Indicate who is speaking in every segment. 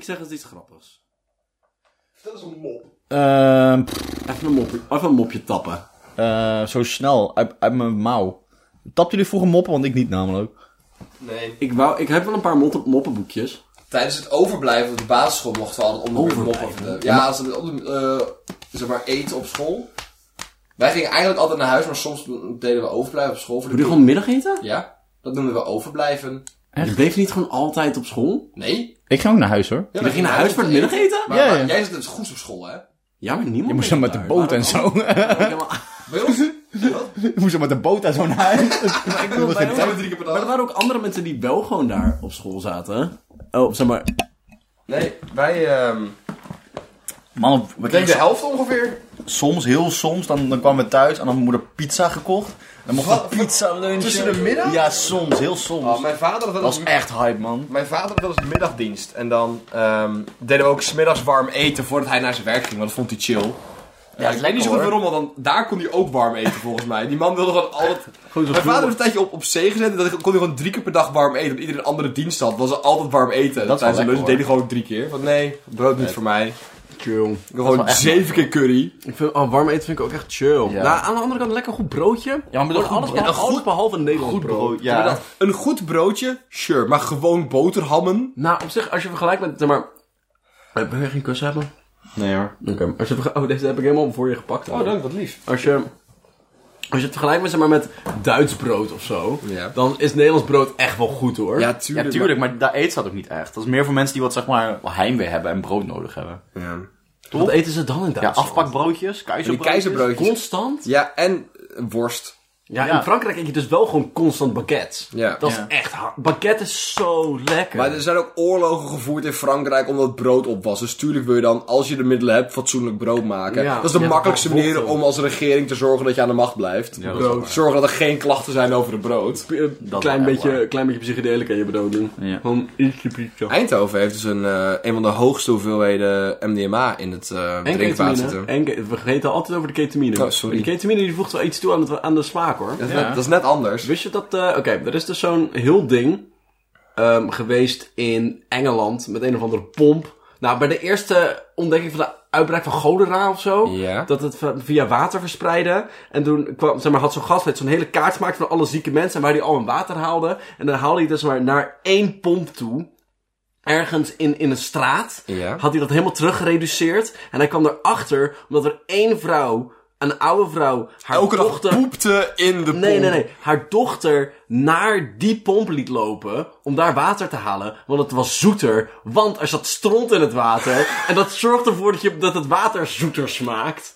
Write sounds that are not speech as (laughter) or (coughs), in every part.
Speaker 1: zeggen ze iets grappigs.
Speaker 2: Dat is een mop.
Speaker 3: Ehm, pff,
Speaker 1: Even een mopje, even een mopje tappen.
Speaker 3: eh, zo snel, uit, uit mijn mouw. Tapten jullie vroeger moppen? Want ik niet namelijk.
Speaker 4: Nee.
Speaker 1: Ik, wou, ik heb wel een paar motten- moppenboekjes.
Speaker 4: Tijdens het overblijven op de basisschool mochten we altijd om de beurt moppen
Speaker 1: Overblijven?
Speaker 4: vertellen. Ja, als we op de, eh, zeg maar eten op school. Wij gingen eigenlijk altijd naar huis, maar soms deden we overblijven op school. Voor
Speaker 1: Doe
Speaker 4: de
Speaker 1: je gewoon middageten?
Speaker 4: Ja, dat noemden we overblijven.
Speaker 1: Je bleef niet gewoon altijd op school?
Speaker 4: Nee?
Speaker 3: Ik ging ook naar huis hoor.
Speaker 4: Ja,
Speaker 1: je ging naar huis voor het middageten?
Speaker 4: Maar,
Speaker 3: Ja,
Speaker 4: maar
Speaker 3: ja.
Speaker 4: jij zit het goed op school, hè?
Speaker 1: Ja, maar niemand
Speaker 3: Je moest
Speaker 1: deed
Speaker 3: dan met
Speaker 1: het
Speaker 3: de
Speaker 1: daar.
Speaker 3: boot en
Speaker 1: Waarom-
Speaker 3: zo. (laughs)
Speaker 1: Helemaal-
Speaker 4: Bij (laughs) ons? Wat?
Speaker 3: Je moest dan met de boot en zo naar huis. Ik
Speaker 1: bedoel, bij
Speaker 3: (laughs) wil geen
Speaker 1: ons-
Speaker 4: Zijn
Speaker 3: tijd.
Speaker 4: we drie keer per
Speaker 1: Maar er
Speaker 4: dag?
Speaker 1: waren ook andere mensen die wel gewoon daar op school zaten. Oh, zeg maar.
Speaker 4: Nee, wij... ehm
Speaker 3: Man, we
Speaker 4: ik denk
Speaker 3: kregen
Speaker 4: de helft ongeveer.
Speaker 3: soms, heel soms, dan, dan kwamen we thuis en dan had mijn moeder pizza gekocht. Dan mochten
Speaker 4: Wat?
Speaker 3: we pizza lunchen.
Speaker 4: Tussen de middag?
Speaker 3: Ja, soms, heel soms.
Speaker 4: Oh, mijn vader had wel
Speaker 3: Dat
Speaker 4: eens
Speaker 3: was echt hype, man.
Speaker 4: Mijn vader had wel eens middagdienst. En dan ehm, deden we ook smiddags warm eten voordat hij naar zijn werk ging. Want dat vond hij chill. Ja, ik weet
Speaker 3: lekker,
Speaker 4: niet zo goed
Speaker 3: hoor.
Speaker 4: waarom, want dan, daar kon hij ook warm eten volgens mij. Die man wilde gewoon altijd...
Speaker 3: Gewoon zo
Speaker 4: Mijn
Speaker 3: vroeg.
Speaker 4: vader heeft een tijdje op, op zee gezet en dan kon hij gewoon drie keer per dag warm eten. Omdat iedereen een andere dienst had, was er altijd warm eten.
Speaker 3: wel
Speaker 4: Tijdens de lunch
Speaker 3: lekker,
Speaker 4: deed hij gewoon drie keer. Want nee, brood niet voor mij.
Speaker 1: Chill.
Speaker 4: Ik wil gewoon
Speaker 3: echt
Speaker 4: zeven keer curry.
Speaker 1: Ik vind, oh, warm eten vind ik ook echt chill.
Speaker 3: Ja.
Speaker 1: Nou, aan de andere kant lekker goed broodje.
Speaker 3: Ja, maar dat
Speaker 1: Wordt
Speaker 3: goed
Speaker 1: alles,
Speaker 3: brood-
Speaker 1: alles,
Speaker 3: een goed-
Speaker 1: behalve een Nederlands
Speaker 3: Goed
Speaker 1: brood.
Speaker 3: brood, ja.
Speaker 4: Inderdaad, Een goed broodje, sure. Maar gewoon boterhammen.
Speaker 1: Nou, op zich, als je vergelijkt met, zeg maar... Eh, Ben je geen kus hebben?
Speaker 3: Nee hoor.
Speaker 1: Oké. Als je verge- Oh, deze heb ik helemaal voor je gepakt. eigenlijk.
Speaker 4: Oh, wat lief.
Speaker 1: Als je... Als je het vergelijkt met, zeg maar, met Duits brood of zo,
Speaker 4: Ja.
Speaker 1: dan is Nederlands brood echt wel goed hoor.
Speaker 4: Ja,
Speaker 3: Ja,
Speaker 4: tuurlijk.
Speaker 3: tuurlijk, maar daar eet ze dat ook niet echt. Dat is meer voor mensen die wat, zeg maar, heimwee hebben en brood nodig hebben.
Speaker 4: maar- Ja.
Speaker 1: Wat eten ze dan in
Speaker 3: Ja,
Speaker 1: Duitsland?
Speaker 3: afpakbroodjes,
Speaker 4: Die
Speaker 3: keizerbroodjes.
Speaker 4: keizerbroodjes.
Speaker 1: Constant?
Speaker 4: Ja, en eh, worst.
Speaker 1: Ja,
Speaker 3: Ja.
Speaker 1: in Frankrijk eet je dus wel gewoon constant baguettes.
Speaker 4: Ja.
Speaker 1: Dat
Speaker 3: Ja.
Speaker 1: is echt hard. Baguette is zo lekker.
Speaker 4: Maar er zijn ook oorlogen gevoerd in Frankrijk omdat het brood op was. Dus tuurlijk wil je dan, als je de middelen hebt, fatsoenlijk brood maken.
Speaker 1: Ja,
Speaker 4: dat is de
Speaker 1: ja,
Speaker 4: makkelijkste
Speaker 1: dat is wel
Speaker 4: manier
Speaker 1: goed,
Speaker 4: om als regering te zorgen dat je aan de macht blijft.
Speaker 3: Ja, dat is wel
Speaker 4: brood. Zorgen dat er geen klachten zijn over het brood.
Speaker 1: een
Speaker 3: is
Speaker 1: klein
Speaker 3: echt
Speaker 1: beetje,
Speaker 3: waar.
Speaker 1: klein beetje psychedelica in je bedoeling.
Speaker 3: Ja.
Speaker 1: Gewoon ietsje pizza.
Speaker 4: Eindhoven heeft dus een, eh, een van de hoogste hoeveelheden MDMA in het eh,
Speaker 1: En
Speaker 4: drinkwater
Speaker 1: ketamine.
Speaker 4: zitten.
Speaker 1: En ke- we vergeten altijd over de ketamine.
Speaker 4: Oh, sorry.
Speaker 1: Die ketamine die voegt wel iets toe aan, het, aan de smaak hoor.
Speaker 4: Dat, is
Speaker 3: Ja.
Speaker 4: net, dat is net anders.
Speaker 1: Wist je dat... eh, Oké, er is dus zo'n heel ding ehm, geweest in Engeland met een of andere pomp. Nou, bij de eerste ontdekking van de uitbraak van cholera of zo...
Speaker 4: Ja.
Speaker 1: Dat het va- via water verspreidde. En toen kwam, zeg maar, had zo'n gast met zo'n hele kaart gemaakt van alle zieke mensen. En waar die al hun water haalde. En dan haalde hij dus maar naar één pomp toe. Ergens in, in een straat.
Speaker 4: Ja.
Speaker 1: Had hij dat helemaal teruggereduceerd. En hij kwam erachter omdat er één vrouw, een oude vrouw, haar
Speaker 4: Elke dag
Speaker 1: dochter...
Speaker 4: poepte in de
Speaker 1: Nee,
Speaker 4: pomp.
Speaker 1: nee, nee. Haar dochter naar die pomp liet lopen om daar water te halen. Want het was zoeter, want er zat stront in het
Speaker 4: (laughs)
Speaker 1: water. en dat zorgt ervoor dat, je, dat het water zoeter smaakt.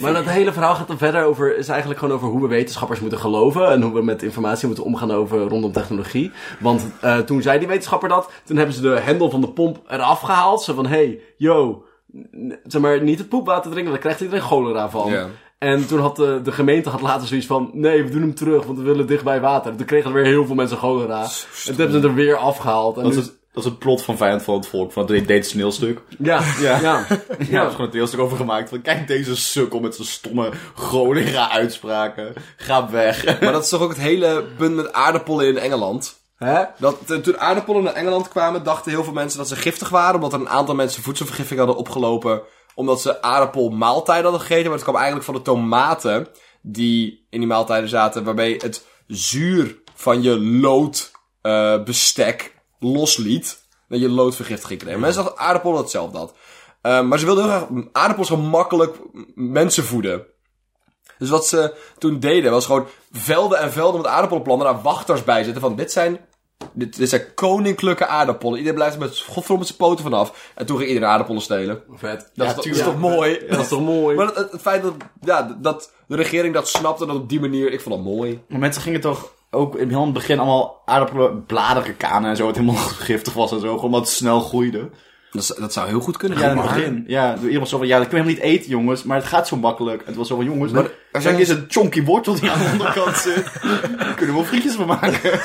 Speaker 1: maar dat hele verhaal gaat dan verder over, is eigenlijk gewoon over hoe we wetenschappers moeten geloven. En hoe we met informatie moeten omgaan over, rondom technologie. Want eh, toen zei die wetenschapper dat, toen hebben ze de hendel van de pomp eraf gehaald. Zo van, hey, yo, n- zeg maar, niet het poepwater drinken, want daar krijgt iedereen cholera van.
Speaker 4: Ja.
Speaker 1: En toen had eh, de, de gemeente had later zoiets van: nee, we doen hem terug, want we willen dicht bij water. En toen kregen er weer heel veel mensen cholera. En toen hebben ze er weer afgehaald. En
Speaker 3: Dat
Speaker 1: nu-
Speaker 3: is, dat is het plot van Vijand van het Volk, van het deed toneelstuk.
Speaker 1: ja, ja, ja.
Speaker 3: Ja, daar is gewoon een toneelstuk over gemaakt. Van, kijk deze sukkel met zijn stomme cholera-uitspraken. Ga weg.
Speaker 4: Maar dat is toch ook het hele punt met aardappelen in Engeland.
Speaker 1: Hè?
Speaker 4: Dat, eh, toen aardappelen naar Engeland kwamen, dachten heel veel mensen dat ze giftig waren. Omdat er een aantal mensen voedselvergiftiging hadden opgelopen. Omdat ze aardappelmaaltijden hadden gegeten. Maar het kwam eigenlijk van de tomaten die in die maaltijden zaten. Waarbij het zuur van je loodbestek losliet. Dat je loodvergiftiging kreeg. Mensen dachten aardappelen hetzelfde had. Eh, maar ze wilden heel graag aardappels zo makkelijk m- mensen voeden. Dus wat ze toen deden was gewoon velden en velden met aardappelenplanten. Daar wachters bij zitten van dit zijn dit, dit zijn koninklijke aardappelen. Iedereen blijft er met godverdomme zijn poten vanaf. En toen ging iedereen aardappelen stelen.
Speaker 1: Vet.
Speaker 4: Dat, is,
Speaker 1: ja,
Speaker 4: toch-
Speaker 1: tuurlijk.
Speaker 4: is toch mooi?
Speaker 1: Dat is toch mooi?
Speaker 4: Maar het, het- het feit dat, ja, dat de regering dat snapte, dat op die manier, ik vond dat mooi.
Speaker 3: Maar mensen gingen toch ook in heel het begin allemaal aardappelen, bladeren kanen en zo. Het helemaal (laughs) giftig was en zo. Gewoon omdat het snel groeide.
Speaker 4: Dat, z- dat zou heel goed kunnen.
Speaker 3: Ja, in het
Speaker 4: maar.
Speaker 3: begin. Ja, iemand zo van, ja, dat kun je helemaal niet eten, jongens. Maar het gaat zo makkelijk. En het was zo van, jongens,
Speaker 4: Maar
Speaker 3: Waarschijnlijk is het een chonky wortel die aan de onderkant (laughs) zit. Daar kunnen we wel frietjes van maken.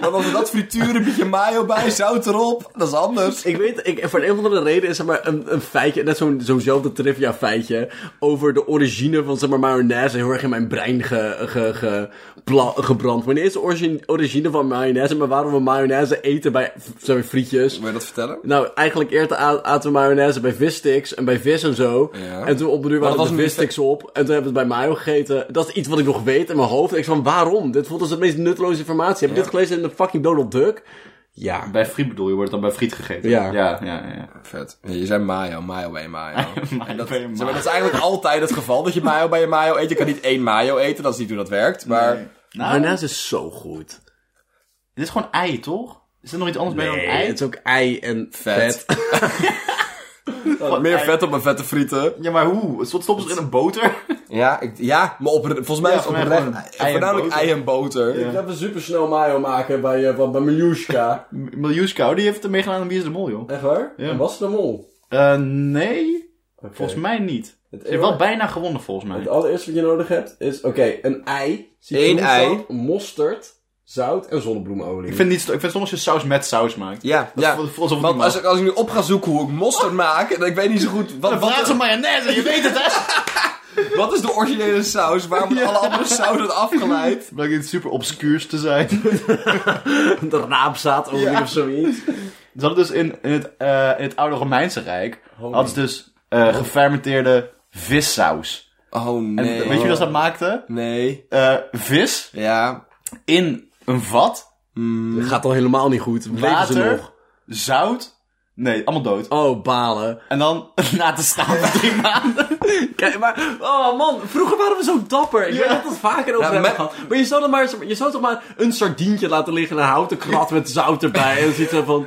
Speaker 4: Want als we dat frituren, een beetje mayo bij, zout erop, dat is anders.
Speaker 1: Ik weet, ik, voor een of andere reden is er maar een, een feitje, net zo'n zo'nzelfde trivia feitje, over de origine van zeg maar mayonaise heel erg in mijn brein ge, ge, ge, pla- gebrand. Wanneer is de origine, origine van mayonaise, maar waarom we mayonaise eten bij zeg maar, frietjes?
Speaker 4: Wil je dat vertellen?
Speaker 1: Nou, eigenlijk eerder a- aten we mayonaise bij vissticks en bij vis en zo.
Speaker 4: Ja.
Speaker 1: En toen op de duur
Speaker 4: dat
Speaker 1: waren de
Speaker 4: was een
Speaker 1: vissticks op. En toen hebben we het bij mayo gegeten. Dat is iets wat ik nog weet in mijn hoofd. En ik van, waarom? Dit voelt als de meest nutteloze informatie. Heb je dit gelezen in de fucking Donald Duck? Ja.
Speaker 3: Bij friet bedoel je, wordt dan bij friet gegeten.
Speaker 1: Ja.
Speaker 3: Ja, ja, ja.
Speaker 4: Vet. Ja, je zei mayo, mayo bij je
Speaker 1: (laughs)
Speaker 4: mayo.
Speaker 3: Maar dat,
Speaker 4: Zeg maar, dat is eigenlijk altijd het geval, dat je mayo bij je mayo eet. Je kan niet één mayo eten, dat is niet hoe dat werkt. Maar
Speaker 3: nou,
Speaker 1: Mayonaise is zo goed.
Speaker 3: dit is gewoon ei, toch? Is er nog iets anders bij dan ei?
Speaker 1: het is ook ei en vet.
Speaker 4: Vet. meer vet op mijn vette frieten.
Speaker 3: Ja, maar hoe? Stoppen ze in een boter? (laughs)
Speaker 4: Ja, ik, ja maar op, volgens mij
Speaker 3: Ja,
Speaker 4: is het
Speaker 3: volgens
Speaker 4: oprecht
Speaker 3: mij gewoon
Speaker 4: ei-
Speaker 3: ei en
Speaker 4: voornamelijk
Speaker 3: boter.
Speaker 4: ei en
Speaker 1: (laughs)
Speaker 4: boter.
Speaker 1: Ik ga even supersnel mayo maken bij, eh, bij Miljushka.
Speaker 3: Miljuska, die heeft er meegedaan aan Wie is de Mol, joh.
Speaker 1: Echt waar?
Speaker 3: Ja.
Speaker 1: En was het een mol?
Speaker 3: Eh, nee.
Speaker 1: Oké.
Speaker 3: Volgens mij niet. Ze heeft
Speaker 1: enige-
Speaker 3: wel bijna gewonnen, volgens mij.
Speaker 1: Het allereerste wat je nodig hebt is, oké, een ei.
Speaker 4: Eén
Speaker 1: citroenzout, Mosterd, zout en zonnebloemolie.
Speaker 3: Ik vind, niet, ik vind soms je saus met saus maakt.
Speaker 4: Ja,
Speaker 3: Dat
Speaker 4: ja.
Speaker 3: voelt- voelt alsof het
Speaker 4: Want
Speaker 3: niet
Speaker 4: als
Speaker 3: mag.
Speaker 4: ik, als ik nu op ga zoeken hoe ik mosterd maak, en ik weet niet zo goed... Wat,
Speaker 3: Wat is
Speaker 4: wat,
Speaker 3: een mayonaise? Je weet het,
Speaker 4: (laughs)
Speaker 3: hè?
Speaker 4: wat is de originele saus? Waarom
Speaker 3: (laughs)
Speaker 4: wordt alle andere saus dat afgeleid?
Speaker 3: Blijkt iets super obscuurs te zijn.
Speaker 1: (laughs) de raapzaadolie
Speaker 3: Ja.
Speaker 1: of (laughs) zoiets.
Speaker 3: Ze hadden dus in, in, het, eh, in het oude Romeinse Rijk... hadden ze dus eh, gefermenteerde vissaus.
Speaker 4: Oh,
Speaker 3: (laughs) En
Speaker 4: nee.
Speaker 3: weet je wie dat maakte?
Speaker 4: Nee.
Speaker 3: Eh, vis
Speaker 4: Ja.
Speaker 3: in een vat.
Speaker 1: Dat Mm. gaat al helemaal niet goed. Leven ze
Speaker 3: Water.
Speaker 1: nog?
Speaker 3: Zout. Nee, allemaal dood.
Speaker 1: Oh, balen.
Speaker 3: En dan (laughs) laten staan voor drie maanden.
Speaker 1: Kijk, maar... Oh, man. Vroeger waren we zo dapper. Ik weet dat we het vaker over
Speaker 4: Ja,
Speaker 1: hebben
Speaker 4: met-
Speaker 1: gehad. Maar je zou, dan maar, je zou toch maar een sardientje laten liggen in een houten krat met zout erbij. En dan zit er van...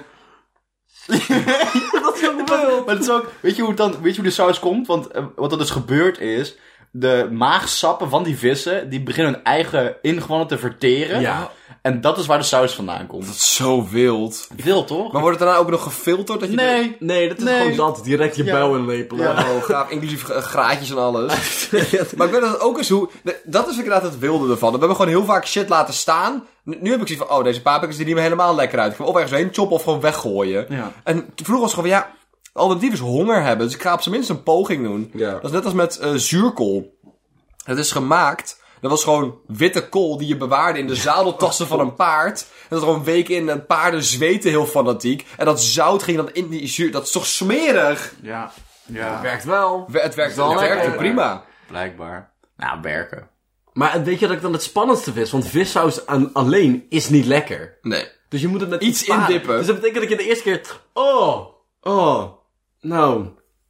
Speaker 1: dat is ook wild.
Speaker 3: Maar het is ook, weet je hoe, het dan, weet je hoe de saus komt? Want eh, wat er dus gebeurd is, de maagsappen van die vissen, die beginnen hun eigen ingewanden te verteren.
Speaker 1: Ja.
Speaker 3: En dat is waar de saus vandaan komt.
Speaker 4: Dat is zo wild.
Speaker 3: Wil toch?
Speaker 4: Maar wordt het daarna ook nog gefilterd? Dat je
Speaker 3: nee.
Speaker 1: Nee, dat is
Speaker 3: Nee.
Speaker 1: gewoon dat. Direct je
Speaker 3: Ja.
Speaker 1: buil inlepelen.
Speaker 3: Ja.
Speaker 4: Oh, gaaf, inclusief eh, graadjes en
Speaker 3: (laughs)
Speaker 4: alles. maar ik weet dat het ook eens hoe... de- Dat is inderdaad het wilde ervan. We hebben gewoon heel vaak shit laten staan. Nu nu heb ik zoiets van, oh, deze paprika's die niet meer helemaal lekker uit. Ik ga hem of ergens heen choppen of gewoon weggooien.
Speaker 3: Ja.
Speaker 4: En vroeger was het gewoon van, ja, alternatief is honger hebben. Dus ik ga op zijn minst een poging doen.
Speaker 1: Ja.
Speaker 4: Dat is net als met eh, zuurkool. Het is gemaakt... Dat was gewoon witte kool die je bewaarde in de zadeltassen van een paard. En dat er gewoon een week in en paarden zweten heel fanatiek. En dat zout ging dan in die zuur. Dat is toch smerig?
Speaker 3: Ja. Ja.
Speaker 1: Werkt wel.
Speaker 4: We- Het werkt,
Speaker 1: Zal
Speaker 4: het
Speaker 1: lekker.
Speaker 4: werkt prima.
Speaker 3: Blijkbaar. Nou, werken.
Speaker 1: Maar weet je dat ik dan het spannendste vind? Want vissaus aan- alleen is niet lekker.
Speaker 4: Nee.
Speaker 1: Dus je moet het met
Speaker 4: Iets
Speaker 1: sparen.
Speaker 4: indippen.
Speaker 1: Dus dat betekent dat je de eerste keer... Oh, oh, nou,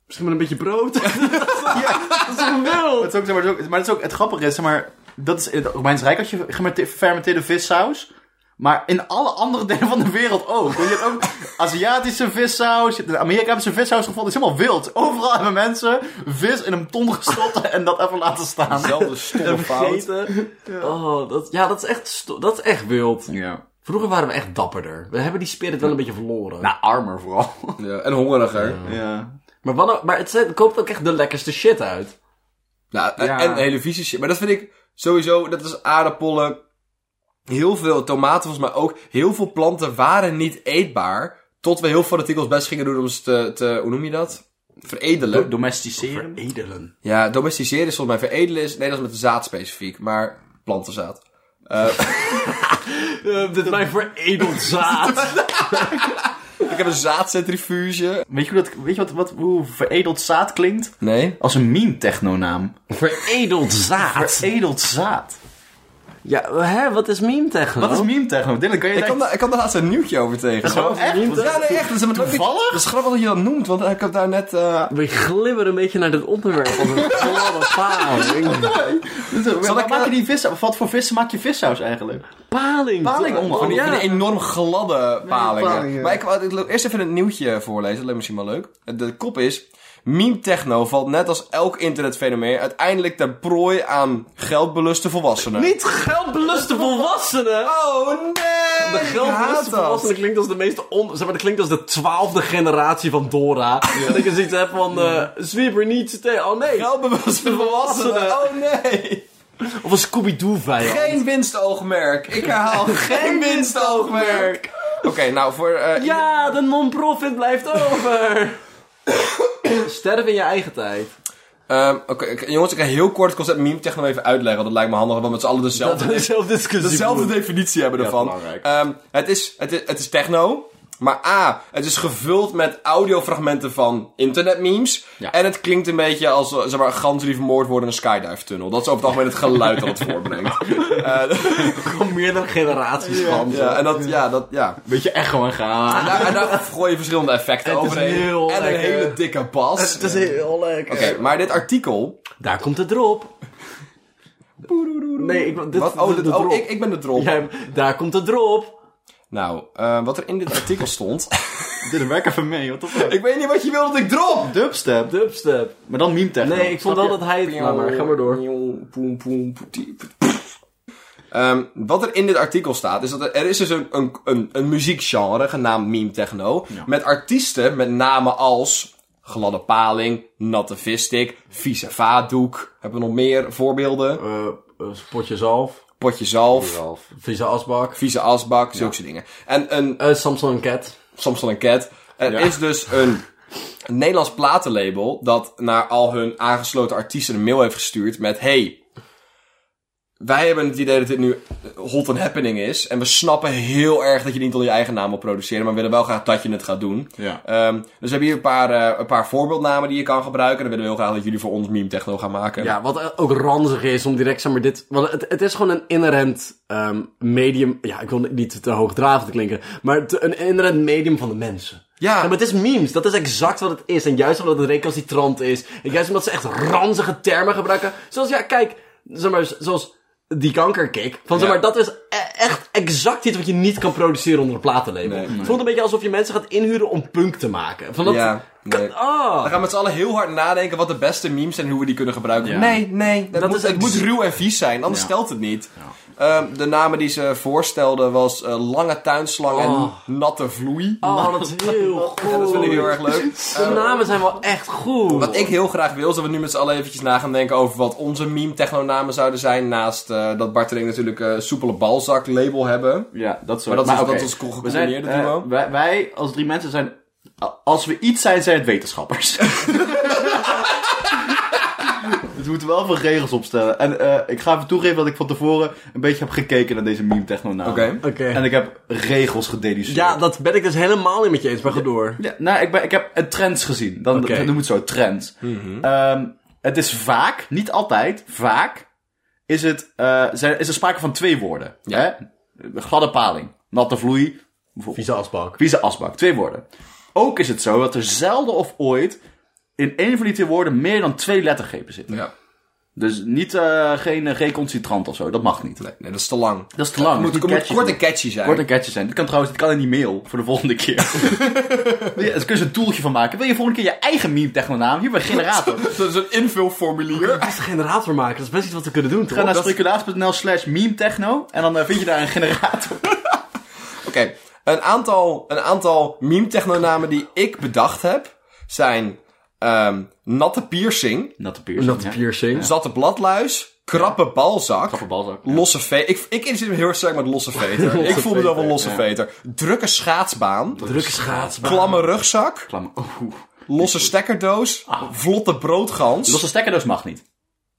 Speaker 1: misschien met een beetje (laughs) brood. Dat is een
Speaker 3: Het
Speaker 1: wild.
Speaker 3: is ook, zeg maar, het is ook, maar het, is ook, het grappige is, zeg maar, dat is in het Romeinse Rijk had je gemerte- gefermenteerde vissaus. Maar in alle andere (laughs) delen van de wereld ook. Want je hebt ook Aziatische vissaus. je hebt In Amerika hebben ze vissaus gevonden. Het is helemaal wild. Overal hebben mensen vis in een ton gestopt en dat even laten staan.
Speaker 4: Zelfde stomme fout.
Speaker 1: Vergeten. Oh, dat, ja, dat is, echt sto- dat is echt wild.
Speaker 3: Ja.
Speaker 1: Vroeger waren we echt dapperder. We hebben die spirit wel een beetje verloren.
Speaker 3: Nou, armer vooral.
Speaker 4: Ja, en hongeriger.
Speaker 3: Ja.
Speaker 1: Maar, wat, maar het zijn- koopt ook echt de lekkerste shit uit.
Speaker 4: Nou, en,
Speaker 3: Ja.
Speaker 4: en hele vieze shit. Maar dat vind ik sowieso, dat is aardappelen. Heel veel tomaten volgens mij ook. Heel veel planten waren niet eetbaar. Tot we heel fanatiek ons best gingen doen om ze te, te hoe noem je dat? Veredelen.
Speaker 3: Domesticeren.
Speaker 1: Edelen.
Speaker 4: Ja, domesticeren is volgens mij veredelen is. Nee, dat is met de zaad specifiek. Maar plantenzaad.
Speaker 1: Eh, dit is mijn veredeld zaad.
Speaker 4: Ik heb een zaadcentrifuge.
Speaker 3: Weet je, hoe dat, weet je wat, wat, hoe veredeld zaad klinkt?
Speaker 4: Nee.
Speaker 3: Als een meme-technonaam.
Speaker 1: veredeld zaad.
Speaker 3: Veredeld zaad.
Speaker 1: Ja, hè, wat is meme techno?
Speaker 3: Wat is meme-techno? Dylan, kan je
Speaker 4: Ik
Speaker 3: daar
Speaker 4: kwam, daar, ik kwam daar laatst een nieuwtje over tegen.
Speaker 3: Zo,
Speaker 4: Ja,
Speaker 3: echt?
Speaker 4: nee, echt. Dat is, een-
Speaker 3: Toevallig?
Speaker 4: Dat is grappig dat je dat noemt, want ik heb daar net... eh,
Speaker 1: We glibberen een beetje naar dit onderwerp als een (laughs) gladde paling.
Speaker 3: Zal
Speaker 4: ik,
Speaker 3: maak je
Speaker 4: eh,
Speaker 3: die vissen? Wat voor vissen maak je vissaus eigenlijk?
Speaker 1: Paling.
Speaker 3: Paling onder-
Speaker 4: Van die, van
Speaker 1: ja.
Speaker 4: die enorm gladde palingen.
Speaker 3: palingen.
Speaker 4: Maar ik wou ik wil eerst even een nieuwtje voorlezen, dat lijkt misschien wel leuk. De kop is... Meme techno valt net als elk internetfenomeen uiteindelijk ter prooi aan geldbeluste volwassenen.
Speaker 1: Niet
Speaker 4: (laughs)
Speaker 1: geldbeluste volwassenen!
Speaker 4: Oh nee!
Speaker 1: De
Speaker 4: ik haat
Speaker 1: geldbeluste
Speaker 4: dat.
Speaker 1: volwassenen klinkt als de meeste on... Zeg maar, dat klinkt als de twaalfde generatie van Dora. Dat ik eens iets heb van... eh Zwieber niet tegen... Oh nee!
Speaker 4: (laughs) Geldbewuste volwassenen. Oh nee.
Speaker 1: Of een Scooby-Doo vijand.
Speaker 4: Geen winstoogmerk. Ik (laughs) herhaal geen winstoogmerk. Oké, nou voor... eh,
Speaker 1: Ja, de non-profit blijft
Speaker 4: (coughs)
Speaker 1: over! Sterf in je eigen tijd.
Speaker 4: Ehm, Oké, ik- jongens, ik ga heel kort het concept meme techno even uitleggen. want Dat lijkt me handig, want we met z'n allen
Speaker 1: Dat
Speaker 4: dezelfde,
Speaker 1: is zelf discussie.
Speaker 4: (laughs) dezelfde definitie hebben
Speaker 1: Ja,
Speaker 4: ervan.
Speaker 1: belangrijk.
Speaker 4: Ehm, het, is, het, is, het is techno. Maar A, het is gevuld met audiofragmenten van internetmemes.
Speaker 1: Ja.
Speaker 4: En het klinkt een beetje als eh, zeg maar, ganzen die vermoord worden in een skydive-tunnel. Dat is over het algemeen het geluid dat
Speaker 1: (laughs)
Speaker 4: het voortbrengt. Eh, (laughs)
Speaker 1: Gewoon meerdere generaties van.
Speaker 4: Ja, en dat, ja, dat, ja.
Speaker 3: Beetje echo en gaan.
Speaker 4: En daar, en daar gooi je verschillende effecten
Speaker 1: Het is
Speaker 4: overheen.
Speaker 1: heel
Speaker 4: en een
Speaker 1: lekker.
Speaker 4: hele dikke bas. Oké,
Speaker 1: heel leuk.
Speaker 4: maar dit artikel.
Speaker 1: Daar komt de drop. Nee, ik, dit,
Speaker 4: Wat?
Speaker 1: de,
Speaker 4: Oh, dit-
Speaker 1: de
Speaker 4: oh,
Speaker 1: drop.
Speaker 4: ik, ik ben de drop.
Speaker 1: Jij- daar komt de drop.
Speaker 4: Nou, eh, wat er in dit artikel stond. (laughs)
Speaker 3: Dit werkt even mee, wat de
Speaker 4: ik weet niet wat je wil dat ik drop!
Speaker 3: Dubstep.
Speaker 1: Dubstep.
Speaker 3: Maar dan meme techno.
Speaker 1: Nee, ik vond wel dat hij het... Nou maar, ga maar door.
Speaker 4: Ehm, wat er in dit artikel staat, is dat er, er is dus een, een, een, een muziekgenre genaamd meme techno. Met artiesten met namen als Gladde Paling, Natte Vistik, Vieze Vaatdoek. Hebben we nog meer voorbeelden?
Speaker 1: Eh, eh, potje zalf.
Speaker 4: Potje Zalf,
Speaker 1: Vieze asbak.
Speaker 4: Vieze Asbak, zulke soort dingen. En een
Speaker 1: Eh Samson Cat.
Speaker 4: Samson en Cat. Er is dus een Nederlands platenlabel dat naar al hun aangesloten artiesten een mail heeft gestuurd met... Hey, wij hebben het idee dat dit nu hot and happening is. En we snappen heel erg dat je niet onder je eigen naam wil produceren. Maar we willen wel graag dat je het gaat doen.
Speaker 3: Ja.
Speaker 4: Ehm, dus we hebben hier een paar, eh, een paar voorbeeldnamen die je kan gebruiken. En dan willen we heel graag dat jullie voor ons meme techno gaan maken.
Speaker 1: Ja, wat eh, ook ranzig is om direct, zeg maar, dit... Want het, het is gewoon een inherent ehm, medium... Ja, ik wil niet te hoogdravend klinken. Maar het- een inherent medium van de mensen.
Speaker 4: Ja.
Speaker 1: maar het is memes. Dat is exact wat het is. En juist omdat het recalcitrant is. En juist omdat ze echt ranzige termen gebruiken. Zoals, ja, kijk. Zeg maar, zoals die kankerkick. Van, zeg
Speaker 4: Ja.
Speaker 1: maar, dat is e- echt exact iets wat je niet kan produceren onder een platenlabel.
Speaker 4: Nee, nee.
Speaker 1: Het voelt een beetje alsof je mensen gaat inhuren om punk te maken. Van dat...
Speaker 4: Ja, nee.
Speaker 1: Ah.
Speaker 4: We gaan met z'n allen heel hard nadenken wat de beste memes zijn en hoe we die kunnen gebruiken.
Speaker 3: Ja.
Speaker 4: Nee, nee. Dat
Speaker 1: Dat
Speaker 4: moet,
Speaker 1: is
Speaker 4: het
Speaker 1: ex-
Speaker 4: moet ruw en vies zijn, anders
Speaker 3: Ja.
Speaker 4: stelt het niet. Ehm, de namen die ze voorstelden was eh, Lange Tuinslang
Speaker 1: Oh.
Speaker 4: en Natte Vloei.
Speaker 1: Oh, dat is heel goed.
Speaker 4: Ja, dat vind ik heel erg leuk.
Speaker 1: De namen zijn wel echt goed.
Speaker 4: Wat ik heel graag wil, is dat we nu met z'n allen eventjes na gaan denken over wat onze meme-technonamen zouden zijn. Naast eh, dat Bart en ik natuurlijk een soepele balzak label hebben.
Speaker 3: Ja, dat soort
Speaker 4: Maar dat is,
Speaker 3: oké.
Speaker 4: dat is een
Speaker 3: We zijn,
Speaker 4: gecombineerde
Speaker 3: eh,
Speaker 4: duo.
Speaker 3: wij, wij als drie mensen zijn... a- Als we iets zijn, zijn het
Speaker 4: (laughs)
Speaker 3: wetenschappers. (laughs) Dus we moeten wel veel regels opstellen. En eh, ik ga even toegeven dat ik van tevoren een beetje heb gekeken naar deze meme techno naam.
Speaker 4: Oké.
Speaker 1: Oké.
Speaker 3: En ik heb regels gededuceerd.
Speaker 1: Ja, dat ben ik dus helemaal niet met je eens, maar ga door.
Speaker 3: Ja, nou, ik, ben, ik heb een trends gezien. Dan
Speaker 1: Oké.
Speaker 3: noem het zo, trends.
Speaker 4: Mhm.
Speaker 3: Ehm, het is vaak, niet altijd, vaak is, het, eh, zijn, is er sprake van twee woorden.
Speaker 4: Ja.
Speaker 3: Hè? Gladde paling, natte vloei,
Speaker 1: Vieze asbak.
Speaker 3: vieze asbak. Twee woorden. Ook is het zo dat er zelden of ooit in één van die twee woorden meer dan twee lettergrepen zitten.
Speaker 4: Ja.
Speaker 3: Dus niet, eh, geen eh, reconcitrant of zo, dat mag niet.
Speaker 4: Nee, nee, dat is te lang.
Speaker 3: Dat is te lang.
Speaker 4: Het moet, het
Speaker 3: dus die
Speaker 4: moet
Speaker 3: catchy
Speaker 4: kort
Speaker 3: moet-
Speaker 4: en catchy zijn.
Speaker 3: Kort een catchy zijn. Dit kan trouwens, dit kan in die mail voor de volgende keer. ja, daar kun je een toeltje van maken. Wil je volgende keer je eigen meme technonaam? Hier bij
Speaker 4: (laughs)
Speaker 3: generator.
Speaker 4: (laughs) Dat is een invulformulier.
Speaker 1: Best een generator maken, dat is best iets wat we kunnen doen,
Speaker 4: Oh,
Speaker 3: Ga
Speaker 1: toch?
Speaker 3: naar speculaas.nl slash meme techno en dan eh, vind je daar een
Speaker 4: (laughs)
Speaker 3: generator.
Speaker 4: Oké, een aantal, een aantal meme-technonamen die ik bedacht heb zijn ehm, Natte Piercing,
Speaker 3: Natte
Speaker 1: Dat
Speaker 3: piercing.
Speaker 1: is
Speaker 3: ja.
Speaker 1: piercing.
Speaker 4: Zatte Bladluis, Krappe Balzak,
Speaker 3: Grappig balzak.
Speaker 4: Losse Veter. Ik, ik identificeer me heel erg sterk met
Speaker 3: (laughs)
Speaker 4: Losse Veter. ik voel mezelf een Losse Veter. Drukke Schaatsbaan,
Speaker 1: Drukke schaatsbaan.
Speaker 3: Ah.
Speaker 4: Klamme Rugzak,
Speaker 3: Klam- Oeh.
Speaker 4: Losse Stekkerdoos, Vlotte Broodgans,
Speaker 3: Ah. Losse stekkerdoos mag niet.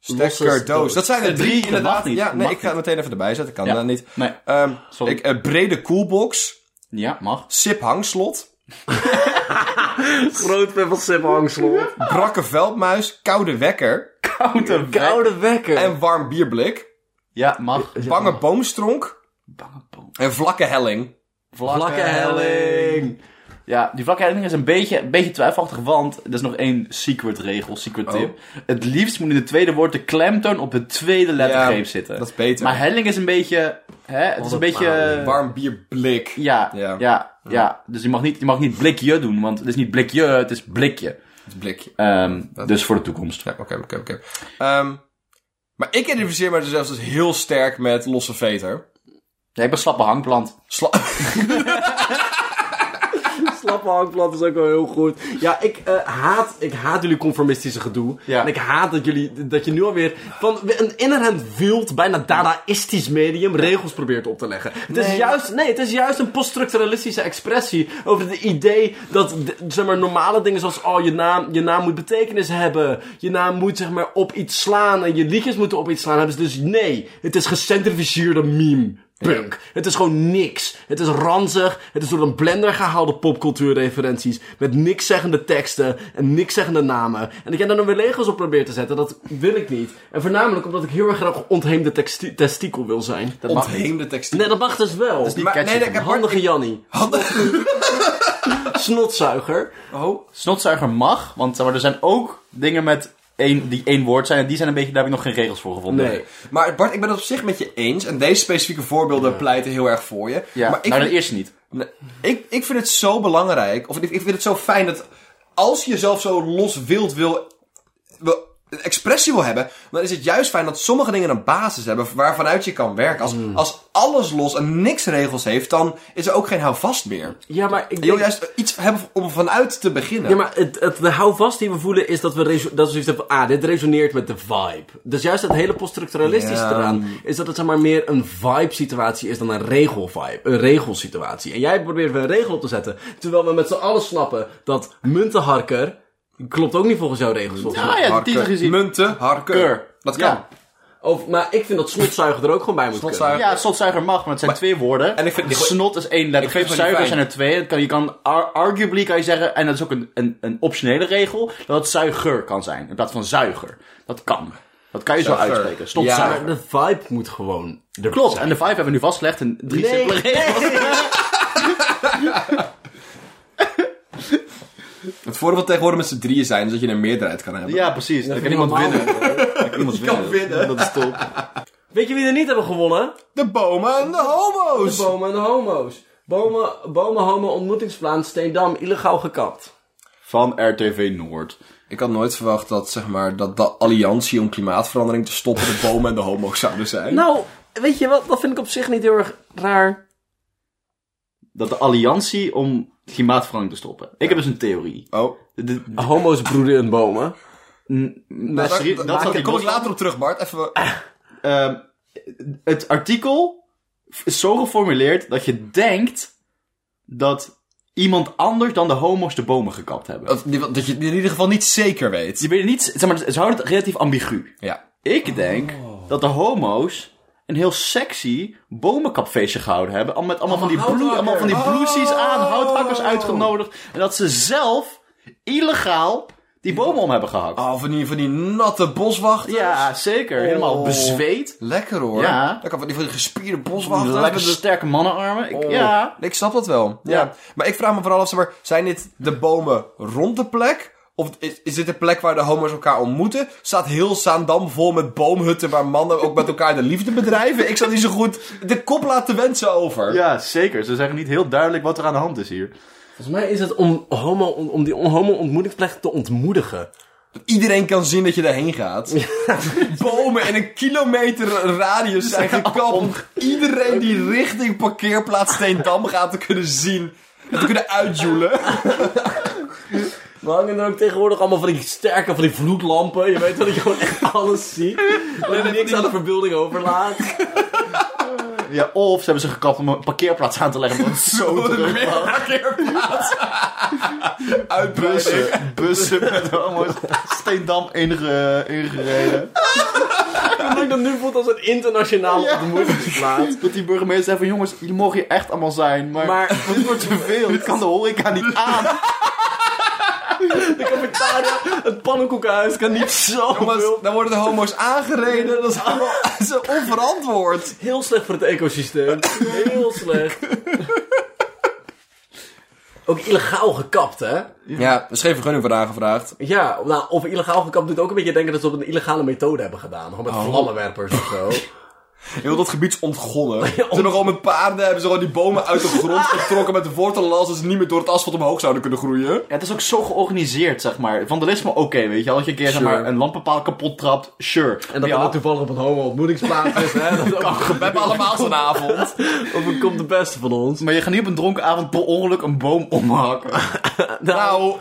Speaker 4: Stekkerdoos. Dat zijn er drie
Speaker 3: Drie, dat mag
Speaker 4: inderdaad.
Speaker 3: niet.
Speaker 4: Ja, nee,
Speaker 3: Mag
Speaker 4: ik ga het meteen even erbij zetten, kan
Speaker 3: Ja.
Speaker 4: dat niet.
Speaker 3: Nee.
Speaker 4: Ehm,
Speaker 3: Sorry.
Speaker 4: ik, eh, brede Koelbox,
Speaker 3: Ja, mag.
Speaker 4: Sip Hangslot,
Speaker 1: Groot fan van Sip Hangslot.
Speaker 4: Brakke Veldmuis, Koude Wekker.
Speaker 3: Koude
Speaker 1: (laughs) Koude wekker.
Speaker 4: en warm bierblik.
Speaker 3: Ja, mag.
Speaker 4: (laughs) Bange boomstronk
Speaker 3: Bange boom.
Speaker 4: en vlakke helling.
Speaker 1: Vlakke helling.
Speaker 3: Ja, die vlakke helling is een beetje, een beetje twijfelachtig, want er is nog één secret regel,
Speaker 4: Oh.
Speaker 3: secret tip. Het liefst moet in het tweede woord de klemtoon op het tweede lettergreep
Speaker 4: Ja,
Speaker 3: zitten.
Speaker 4: dat is beter.
Speaker 3: Maar helling is een beetje, hè, het is een
Speaker 1: dat
Speaker 3: beetje...
Speaker 4: Warm bierblik.
Speaker 3: Ja,
Speaker 4: Ja.
Speaker 3: ja, ja. Dus je mag niet, je mag niet blikje doen, want het is niet blikje, het is blikje.
Speaker 4: Het blikje.
Speaker 3: Ehm, dus voor de toekomst.
Speaker 4: Ja, oké, oké, oké. Ehm, maar ik identificeer me dus zelfs dus heel sterk met losse veter.
Speaker 3: Nee, ik ben slappe hangplant.
Speaker 4: Sla (laughs)
Speaker 1: Slappe hangplant is ook wel heel goed. Ja, ik, eh, haat, ik haat jullie conformistische gedoe.
Speaker 3: Ja.
Speaker 1: En ik haat dat, jullie, dat je nu alweer van een inherent wild, bijna dadaïstisch medium regels probeert op te leggen. Het is juist, nee, het is juist een poststructuralistische expressie over het idee dat d- zeg maar, normale dingen zoals oh, je, naam, je naam moet betekenis hebben. Je naam moet zeg maar, op iets slaan en je liedjes moeten op iets slaan. Hebben ze dus nee, het is gecentrificeerde meme. Punk. Het is gewoon niks. Het is ranzig. Het is door een blender gehaalde popcultuurreferenties. Met niks zeggende teksten en niks zeggende namen. En dat jij daar dan weer legos op probeert te zetten, dat wil ik niet. En voornamelijk omdat ik heel erg graag ontheemde texti- testikel wil zijn.
Speaker 3: Dat mag niet.
Speaker 4: ontheemde tekst.
Speaker 1: Nee, dat mag dus wel.
Speaker 3: niet
Speaker 4: Maar-
Speaker 3: catchy
Speaker 4: nee,
Speaker 3: van
Speaker 4: ik
Speaker 1: Een
Speaker 4: heb
Speaker 1: Handige Jannie. (laughs) Snotzuiger.
Speaker 4: Oh,
Speaker 3: Snotzuiger mag, want zeg maar, er zijn ook dingen met één, die één woord zijn. En die zijn een beetje, daar heb ik nog geen regels voor gevonden.
Speaker 1: Nee.
Speaker 4: maar Bart, ik ben het op zich met je eens. En deze specifieke voorbeelden pleiten heel erg voor je.
Speaker 3: Ja,
Speaker 4: maar ik,
Speaker 3: nou,
Speaker 4: vind-
Speaker 3: de eerste niet.
Speaker 4: Nee, ik, ik vind het zo belangrijk. Of ik, ik vind het zo fijn dat als je jezelf zo los wild wil, wil een expressie wil hebben, dan is het juist fijn dat sommige dingen een basis hebben waarvanuit je kan werken. Als,
Speaker 3: Hmm.
Speaker 4: als alles los en niks regels heeft, dan is er ook geen houvast meer.
Speaker 1: Ja, maar ik
Speaker 4: Je wil
Speaker 1: denk...
Speaker 4: juist iets hebben om vanuit te beginnen.
Speaker 1: Ja, maar het, het, de houvast die we voelen is dat we, reso- dat we zoiets hebben van, ah, dit resoneert met de vibe. Dus juist het hele poststructuralistische
Speaker 4: Ja.
Speaker 1: eraan is dat het zeg maar meer een vibe-situatie is dan een regel-vibe, een regelsituatie. En jij probeert weer een regel op te zetten, terwijl we met z'n allen snappen dat muntenharker klopt ook niet volgens jouw regels. Volgens mij.
Speaker 3: Ah ja, de
Speaker 4: Harken,
Speaker 3: teaser gezien.
Speaker 4: Munten, harken.
Speaker 3: Keur.
Speaker 4: Dat kan.
Speaker 3: Ja.
Speaker 1: Of, maar ik vind dat snotzuiger er ook gewoon bij moet kunnen.
Speaker 4: Snotzuiger.
Speaker 3: Ja, snotzuiger mag, maar het zijn twee woorden.
Speaker 4: En ik vind-
Speaker 3: snot is één letter.
Speaker 4: Ik vind het
Speaker 3: zuiger
Speaker 4: fijn.
Speaker 3: zijn er twee. Het kan- je kan ar- arguably kan je zeggen, en dat is ook een, een, een optionele regel, dat het zuiger kan zijn in plaats van zuiger. Dat kan. Dat kan je zo
Speaker 4: Zuiger.
Speaker 3: uitspreken.
Speaker 4: Ja.
Speaker 3: Snotzuiger.
Speaker 1: Maar de vibe moet gewoon er
Speaker 3: Klopt.
Speaker 1: zijn.
Speaker 3: En de vibe hebben we nu vastgelegd in drie
Speaker 1: Nee.
Speaker 3: simpele regels.
Speaker 4: Het voordeel van tegenwoordig met z'n drieën zijn, is dat je een meerderheid kan hebben.
Speaker 3: (laughs) Ja, precies. Dan kan iemand winnen. Dan kan iemand winnen. Dat is top.
Speaker 1: Weet je wie er niet hebben gewonnen?
Speaker 4: De bomen en de homo's.
Speaker 1: De bomen en de homo's. Bomen, bomen, homo, ontmoetingsplaats, Steendam, illegaal gekapt.
Speaker 3: Van RTV Noord.
Speaker 4: Ik had nooit verwacht dat, zeg maar, dat de alliantie om klimaatverandering te stoppen de bomen en de homo's zouden zijn.
Speaker 1: Nou, weet je wat? Dat vind ik op zich niet heel erg raar.
Speaker 3: Dat de alliantie om klimaatverandering te stoppen. Ik heb dus een theorie.
Speaker 4: Oh.
Speaker 3: De- de-
Speaker 1: Homo's broeden in bomen.
Speaker 3: Nou, sorry,
Speaker 4: daar
Speaker 3: dat
Speaker 4: daar
Speaker 3: zat ik
Speaker 4: kom
Speaker 3: los
Speaker 4: ik
Speaker 3: van.
Speaker 4: later op terug, Bart. Even...
Speaker 3: Ehm, het artikel is zo geformuleerd dat je denkt dat iemand anders dan de homo's de bomen gekapt hebben.
Speaker 4: Dat, dat je het in ieder geval niet zeker weet.
Speaker 3: Je weet het niet, zeg maar, ze houden het relatief ambigu.
Speaker 4: Ja.
Speaker 3: Ik denk dat de homo's een heel sexy bomenkapfeestje gehouden hebben. Al met allemaal, van, die blue,
Speaker 1: houthakkers.
Speaker 3: allemaal van die bluesies aan,
Speaker 4: Oh.
Speaker 3: houthakkers uitgenodigd. En dat ze zelf illegaal die bomen om hebben gehakt.
Speaker 4: Oh, van die, van die natte boswachters.
Speaker 3: Ja, zeker. Helemaal
Speaker 4: Oh.
Speaker 3: bezweet.
Speaker 4: Lekker hoor.
Speaker 3: Ja.
Speaker 4: Lekker van die, van die gespierde
Speaker 3: Wacht,
Speaker 4: boswachters.
Speaker 3: lekker
Speaker 4: Met de-
Speaker 3: sterke mannenarmen.
Speaker 4: Oh.
Speaker 3: Ik, Ja.
Speaker 4: Ik snap dat wel. Ja.
Speaker 3: Ja.
Speaker 4: Maar ik vraag me vooral af, zeg maar, zijn dit de bomen rond de plek? Of is, is dit de plek waar de homo's elkaar ontmoeten? Staat heel Zaandam vol met boomhutten waar mannen ook met elkaar de liefde bedrijven? Ik zou niet zo goed de kop laten wensen over.
Speaker 3: Ja, zeker. Ze zeggen niet heel duidelijk wat er aan de hand is hier.
Speaker 1: Volgens mij is het om, homo, om, om die homo-ontmoetingsplek te ontmoedigen.
Speaker 4: Iedereen kan zien dat je daarheen gaat. Bomen in een kilometer radius zijn gekapt. om Iedereen die richting parkeerplaats Steendam gaat te kunnen zien. En te kunnen uitjoelen.
Speaker 1: We hangen er ook tegenwoordig allemaal van die sterke, van die vloedlampen. Je weet wel dat je gewoon echt alles ziet. Dat je niks aan de verbeelding overlaat.
Speaker 3: Ja, of ze hebben ze gekapt om een parkeerplaats aan te leggen. Want
Speaker 4: (laughs)
Speaker 3: zo druk.
Speaker 4: Meer parkeerplaats.
Speaker 3: (laughs)
Speaker 4: Uitbussen.
Speaker 3: Bussen, bussen met homo's. Steendam inge- ingereden.
Speaker 1: Dat ik dat nu voelt als een internationale
Speaker 3: Ja.
Speaker 1: ontmoetingsplaats.
Speaker 3: Dat die burgemeester zei van jongens, jullie mogen hier echt allemaal zijn. Maar,
Speaker 1: Maar-
Speaker 3: (laughs) dit wordt te veel. Dit kan de horeca niet aan.
Speaker 1: De cafetaria, het pannenkoekenhuis kan niet zo
Speaker 4: Jongens,
Speaker 1: veel.
Speaker 4: dan worden de homo's aangereden. Dat is allemaal (laughs) dat is onverantwoord.
Speaker 1: Heel slecht voor het ecosysteem. Heel slecht. Ook illegaal gekapt, hè?
Speaker 4: Ja, scheef vergunning voor aangevraagd.
Speaker 1: Ja, nou, of illegaal gekapt doet ook een beetje denken dat ze op een illegale methode hebben gedaan. Gewoon met vlammenwerpers of zo.
Speaker 4: Heel dat gebied is (laughs) ontgonnen. Ze hebben gewoon met paarden hebben ze gewoon die bomen uit de grond getrokken met de wortelen, zodat ze niet meer door het asfalt omhoog zouden kunnen groeien.
Speaker 3: Ja, het is ook zo georganiseerd, zeg maar. Vandalisme, oké, weet je. wel. Als je een keer zeg
Speaker 4: Sure.
Speaker 3: maar, een lampbepaal kapot trapt, sure.
Speaker 1: En dat
Speaker 3: ja,
Speaker 1: dan ook toevallig op een
Speaker 4: (laughs)
Speaker 1: homo-ontmoetingsplaats
Speaker 4: Dus,
Speaker 1: is, hè?
Speaker 3: (laughs)
Speaker 1: Dat
Speaker 4: We hebben allemaal zo'n avond.
Speaker 1: komt de beste van ons.
Speaker 3: Maar je gaat niet op een dronken avond per ongeluk een boom omhakken.
Speaker 4: Nou,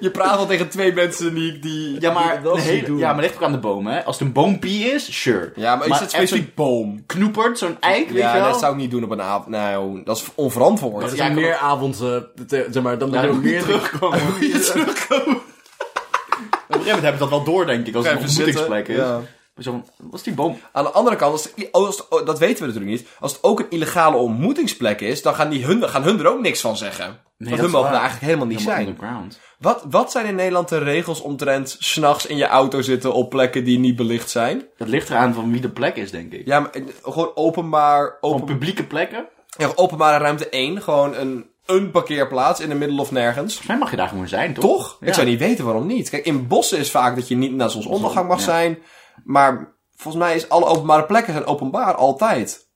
Speaker 4: je praat al tegen twee mensen die... die...
Speaker 3: Ja,
Speaker 1: maar
Speaker 3: maar,
Speaker 1: dat
Speaker 3: een
Speaker 1: is niet
Speaker 3: hele,
Speaker 1: doen.
Speaker 3: ja, maar ligt ook aan de boom, hè. Als het een boompie is, sure.
Speaker 4: Ja, maar, is het
Speaker 3: echt
Speaker 4: specifiek boom?
Speaker 3: een knoepert, zo'n eik, weet je
Speaker 4: Ja,
Speaker 3: wel.
Speaker 4: dat zou ik niet doen op een avond. Nou, dat is onverantwoord.
Speaker 1: Er
Speaker 3: is-
Speaker 1: zijn
Speaker 3: Ja,
Speaker 1: meer avonden, eh, te- zeg maar, dan
Speaker 3: Ja,
Speaker 1: er
Speaker 3: dan
Speaker 1: ook
Speaker 3: moet je
Speaker 1: meer
Speaker 3: terugkomen. Op een
Speaker 4: (laughs)
Speaker 3: gegeven moment hebben ze dat wel door, denk ik, als het een
Speaker 4: Even zitten,
Speaker 3: ontmoetingsplek is.
Speaker 4: ja.
Speaker 3: Maar Zo, van, wat is die boom?
Speaker 4: Aan de andere kant, als het- als het- dat weten we natuurlijk niet. Als het ook een illegale ontmoetingsplek is, dan gaan, die hun, gaan hun er ook niks van zeggen. Want
Speaker 3: dat
Speaker 4: hun
Speaker 3: is
Speaker 4: mogen er
Speaker 3: waar.
Speaker 4: eigenlijk helemaal niet
Speaker 3: Helemaal
Speaker 4: zijn.
Speaker 3: underground.
Speaker 4: Wat, wat zijn in Nederland de regels omtrent s'nachts in je auto zitten op plekken die niet belicht zijn?
Speaker 3: Dat ligt eraan van wie de plek is, denk ik.
Speaker 4: Ja, maar, eh, gewoon openbaar,
Speaker 3: Van
Speaker 4: open,
Speaker 3: publieke plekken?
Speaker 4: ja, openbare ruimte 1. Gewoon een, een parkeerplaats in de middel of nergens.
Speaker 3: Volgens mij mag je daar gewoon zijn, toch?
Speaker 4: Toch?
Speaker 3: Ja.
Speaker 4: Ik zou niet weten waarom niet. Kijk, in bossen is vaak dat je niet naar zonsondergang mag
Speaker 3: Ja.
Speaker 4: zijn. Maar volgens mij is alle openbare plekken zijn openbaar altijd.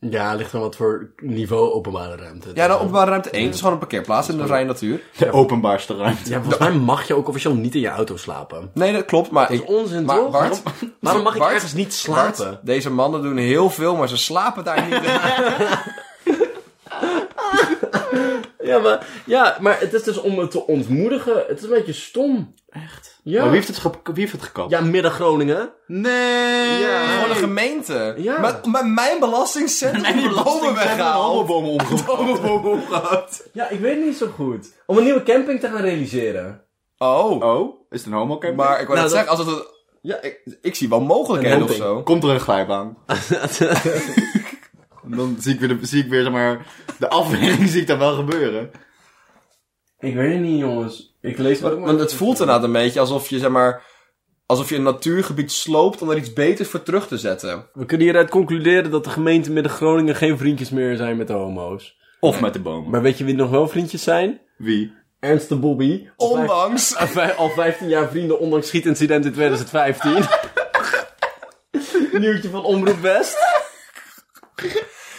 Speaker 1: Ja, ligt aan wat voor niveau openbare ruimte.
Speaker 4: Ja, dan openbare ruimte 1. Het is gewoon een parkeerplaats in de vrije natuur.
Speaker 3: De openbaarste ruimte.
Speaker 1: Ja, volgens mij mag je ook officieel niet in je auto slapen.
Speaker 4: Nee, dat klopt. Maar
Speaker 1: Dat
Speaker 4: ik-
Speaker 1: is onzin,
Speaker 4: maar
Speaker 1: toch?
Speaker 4: Bart,
Speaker 1: Waarom- waarom mag ik
Speaker 4: Bart,
Speaker 1: ergens niet
Speaker 4: Bart,
Speaker 1: slapen?
Speaker 4: deze mannen doen heel veel, maar ze slapen daar niet in.
Speaker 1: (laughs) Ja, maar, ja, maar het is dus om het te ontmoedigen. Het is een beetje stom.
Speaker 3: Echt?
Speaker 1: Ja.
Speaker 3: Maar wie heeft het, ge- wie heeft het gekapt?
Speaker 1: Ja, midden Groningen.
Speaker 3: Nee!
Speaker 1: Ja.
Speaker 4: Gewoon een gemeente.
Speaker 1: Ja.
Speaker 4: Maar, maar mijn belastingcentrum mijn die bomen weggehaald.
Speaker 3: bomen omgehaald.
Speaker 4: Bomen omgehaald.
Speaker 1: Ja, ik weet niet zo goed. Om een nieuwe camping te gaan realiseren.
Speaker 4: Oh.
Speaker 3: Oh, is het een homo camping?
Speaker 4: Maar ik wou
Speaker 1: Nou,
Speaker 4: net
Speaker 1: dat-
Speaker 4: zeggen, als het... een- Ja, ik, ik zie wel mogelijkheden
Speaker 1: Een
Speaker 4: of
Speaker 1: hooping.
Speaker 4: zo.
Speaker 3: Komt er een (laughs) glijbaan? Dan zie ik weer, de, zie ik weer zeg maar, de afweging zie ik dan wel gebeuren.
Speaker 1: ik weet het niet, jongens. Ik lees
Speaker 4: Maar, maar het voelt inderdaad een beetje alsof je, zeg maar... Alsof je een natuurgebied sloopt om er iets beters voor terug te zetten.
Speaker 1: We kunnen hieruit concluderen dat de gemeente midden Groningen geen vriendjes meer zijn met de homo's.
Speaker 3: Of met de bomen.
Speaker 1: Maar weet je wie nog wel vriendjes zijn?
Speaker 3: Wie?
Speaker 1: Ernst de Bobby. Al vijf-
Speaker 4: Ondanks...
Speaker 1: al vij- Al 15 jaar vrienden, ondanks schietincident in (laughs) 2015. Nieuwtje van Omroep West.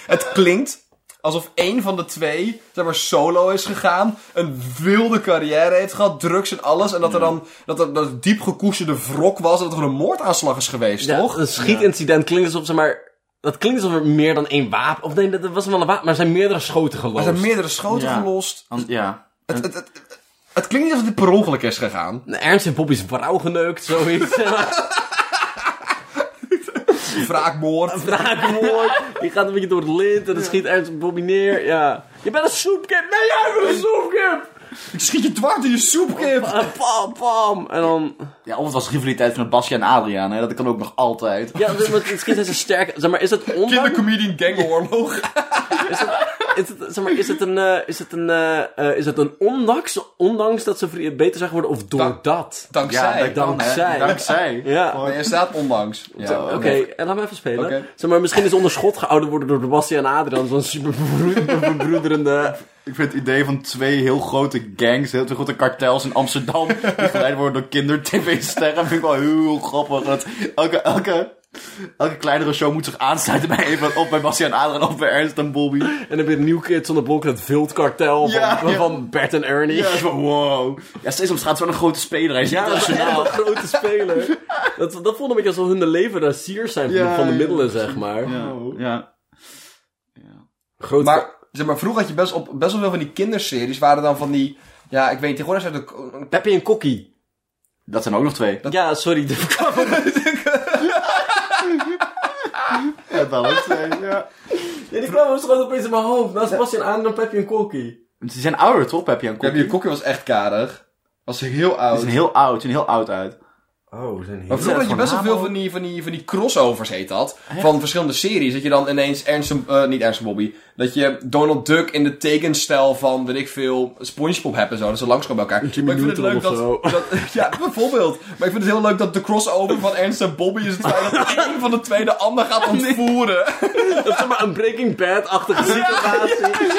Speaker 4: Het klinkt alsof één van de twee, zeg maar, solo is gegaan. Een wilde carrière heeft gehad, drugs en alles. En dat er dan dat er, dat het diep gekoesterde wrok was. En dat er een moordaanslag is geweest, toch?
Speaker 1: Een schietincident klinkt alsof ze maar... Dat klinkt alsof er meer dan één wapen... Of nee, dat dat was wel een wapen, maar er zijn meerdere schoten
Speaker 4: Er
Speaker 1: geloosd.
Speaker 4: zijn meerdere schoten
Speaker 3: Ja.
Speaker 4: gelost.
Speaker 3: An- ja.
Speaker 4: Het, het, het, het, het klinkt niet alsof dit per ongeluk is gegaan.
Speaker 1: Ernst en Bobby is vrouw geneukt, zoiets.
Speaker 4: (laughs) Wraakmoord.
Speaker 1: Drakenmoord. Die gaat een beetje door het lint en dan schiet Ernst en Bobby neer. Ja. Je bent een soepkip. Nee, jij bent een soepkip.
Speaker 4: Ik schiet je dwars in je soepkip.
Speaker 1: En pam, pam. En dan...
Speaker 3: ja, of het was rivaliteit van Basja en Adriaan, hè? dat kan ook nog altijd.
Speaker 1: Ja, dus met- misschien zijn ze sterk. Zeg maar, is het ondanks...
Speaker 4: Kindercomedian gangoorlog.
Speaker 1: Is het, is het, zeg maar, is het een... eh, is het een, eh, eh, is het een ondanks, ondanks dat ze vri- beter zijn geworden of door
Speaker 4: Dank-
Speaker 1: dat?
Speaker 4: Dankzij.
Speaker 3: Ja, dank-
Speaker 1: Dankzij.
Speaker 3: (laughs) Dankzij.
Speaker 1: Ja.
Speaker 4: Oh, je staat ondanks. Ja,
Speaker 1: Oké, en laat me even spelen.
Speaker 4: Oké.
Speaker 1: Zeg maar, misschien is onder schot gehouden worden door Bastiaan en Adriaan. Zo'n super
Speaker 3: (laughs)
Speaker 1: verbroederende...
Speaker 3: Ik vind het idee van twee heel grote gangs, heel twee grote kartels in Amsterdam, die geleid worden door kinder-tv-sterren, vind ik wel heel grappig. Dat elke, elke, elke kleinere show moet zich aansluiten bij even op bij Basja en Adriaan of bij Ernst en Bobby.
Speaker 1: En dan weer New Kids on the Block, dat wildkartel van,
Speaker 3: Ja, ja.
Speaker 1: van Bert en Ernie.
Speaker 3: (laughs) Ja, dat is wel wow. Ja, Sesam Straat is wel een grote speler. Hij is
Speaker 1: (laughs) Ja, dat is echt
Speaker 3: internationaal.
Speaker 1: een grote speler. Dat, dat voelde een beetje alsof hun de leveranciers zijn van,
Speaker 3: Ja,
Speaker 1: van de
Speaker 3: ja.
Speaker 1: middelen, zeg maar.
Speaker 3: ja.
Speaker 1: Groot
Speaker 4: Maar, zeg maar vroeger had je best, op, best wel veel van die kinderseries. Waren dan van die... Ja, ik weet niet. Tegenwoordig zijn het...
Speaker 1: Peppy en Kokkie.
Speaker 3: Dat zijn ook nog twee.
Speaker 1: Ja, sorry. (laughs) de verkouden.
Speaker 3: Dat wel ook twee, ja.
Speaker 1: Ja, die kwamen dus gewoon opeens in mijn hoofd. Naast Bastiaan aan dan Peppy en Kokkie.
Speaker 3: Ze zijn ouder, toch, Peppy en
Speaker 4: Ja,
Speaker 3: Kokkie?
Speaker 4: die kokkie was echt karig. Was heel
Speaker 3: Ze
Speaker 4: oud.
Speaker 3: zijn heel oud, ze zien heel oud uit.
Speaker 1: Oh, we zijn heel...
Speaker 4: Maar vroeger had je best wel
Speaker 3: Hamo.
Speaker 4: veel van die, van, die, van die crossovers, heet dat. Van verschillende series. Dat je dan ineens Ernst en- eh, niet Ernst en Bobby. Dat je Donald Duck in de tekenstijl van, weet ik veel, Spongebob hebt en zo. Dat ze langskomen bij elkaar. maar ik vind het leuk
Speaker 1: Neutron of
Speaker 4: dat, (laughs) dat- Ja, bijvoorbeeld. Maar ik vind het heel leuk dat de crossover van Ernst en Bobby is het feit dat één van de twee de ander gaat ontvoeren.
Speaker 1: Dat is zeg maar een Breaking Bad-achtige situatie.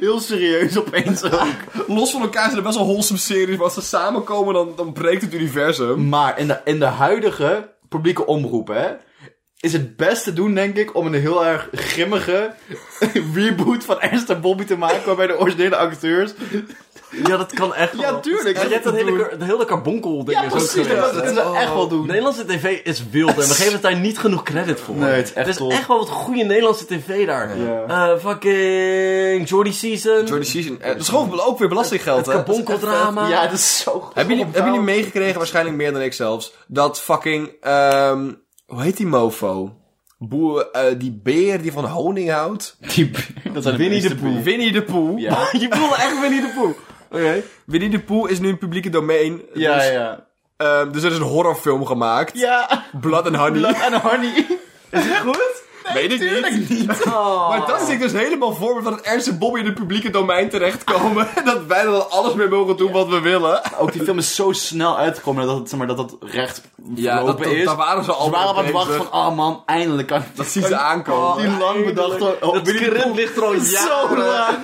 Speaker 3: Heel serieus opeens (laughs) ook.
Speaker 4: Los van elkaar zijn er best wel wholesome series. Maar als ze
Speaker 3: Mm.
Speaker 4: samenkomen, dan, dan breekt het universum.
Speaker 3: Maar in de, in de huidige publieke omroep, hè, is het best te doen, denk ik, om een heel erg grimmige (laughs) reboot van Ernst en Bobby te maken, waarbij de originele acteurs...
Speaker 1: Ja, dat kan echt wel.
Speaker 3: Ja, tuurlijk,
Speaker 1: Ja, je
Speaker 3: dat
Speaker 1: hebt dat
Speaker 3: te
Speaker 1: hele,
Speaker 3: doen.
Speaker 1: kar- de hele carbonkel ding
Speaker 3: Ja,
Speaker 1: is ook
Speaker 3: precies,
Speaker 1: geweest.
Speaker 3: dat kunnen ze echt wel doen.
Speaker 1: De Nederlandse tv is wild en we geven het daar niet genoeg credit voor.
Speaker 3: Nee, het is echt
Speaker 1: Er
Speaker 3: top.
Speaker 1: is echt wel wat goede Nederlandse tv daar.
Speaker 3: Ja.
Speaker 1: Eh, fucking Jordy Season.
Speaker 4: Jordy Season. eh, Dat is gewoon ook weer belastinggeld, hè?
Speaker 1: Carbonkeldrama.
Speaker 3: Ja, dat is zo goed.
Speaker 4: Hebben jullie, hebben jullie meegekregen, waarschijnlijk meer dan ik zelfs, dat fucking, ehm hoe heet die mofo? Boer, eh, die beer die van honing houdt.
Speaker 3: Dat zijn
Speaker 1: Winnie
Speaker 3: meeste
Speaker 1: de Pooh.
Speaker 4: Winnie de Pooh.
Speaker 3: Ja.
Speaker 1: (laughs) Je bedoelde echt Winnie de Pooh. Oké.
Speaker 4: Winnie de Pooh is nu een publieke domein.
Speaker 3: Ja,
Speaker 4: dus,
Speaker 3: ja.
Speaker 4: ehm, dus er is een horrorfilm gemaakt.
Speaker 3: Ja,
Speaker 4: Blood and Honey.
Speaker 3: Blood and Honey.
Speaker 1: Goed?
Speaker 4: (laughs) Weet ik niet. (laughs) Maar dat zie ik dus helemaal voor me dat het Ernst en Bobby in het publieke domein terechtkomen. En (laughs) dat wij er dan alles mee mogen doen wat we willen.
Speaker 3: Ook die film is zo snel uitgekomen dat het, zeg maar, dat, dat recht
Speaker 4: dat,
Speaker 3: verlopen is.
Speaker 4: daar waren ze al
Speaker 3: Ze waren op aan het
Speaker 4: mee
Speaker 3: wachten
Speaker 4: bezig. Oh.
Speaker 3: van, oh man, eindelijk kan ik
Speaker 4: Dat
Speaker 3: (laughs)
Speaker 4: zien ze aankomen.
Speaker 3: Die lang bedachte... Oh,
Speaker 1: Dat
Speaker 3: Winnie de
Speaker 1: script
Speaker 3: Pooh.
Speaker 1: ligt er al
Speaker 3: (laughs) Zo
Speaker 1: jaren.
Speaker 3: lang.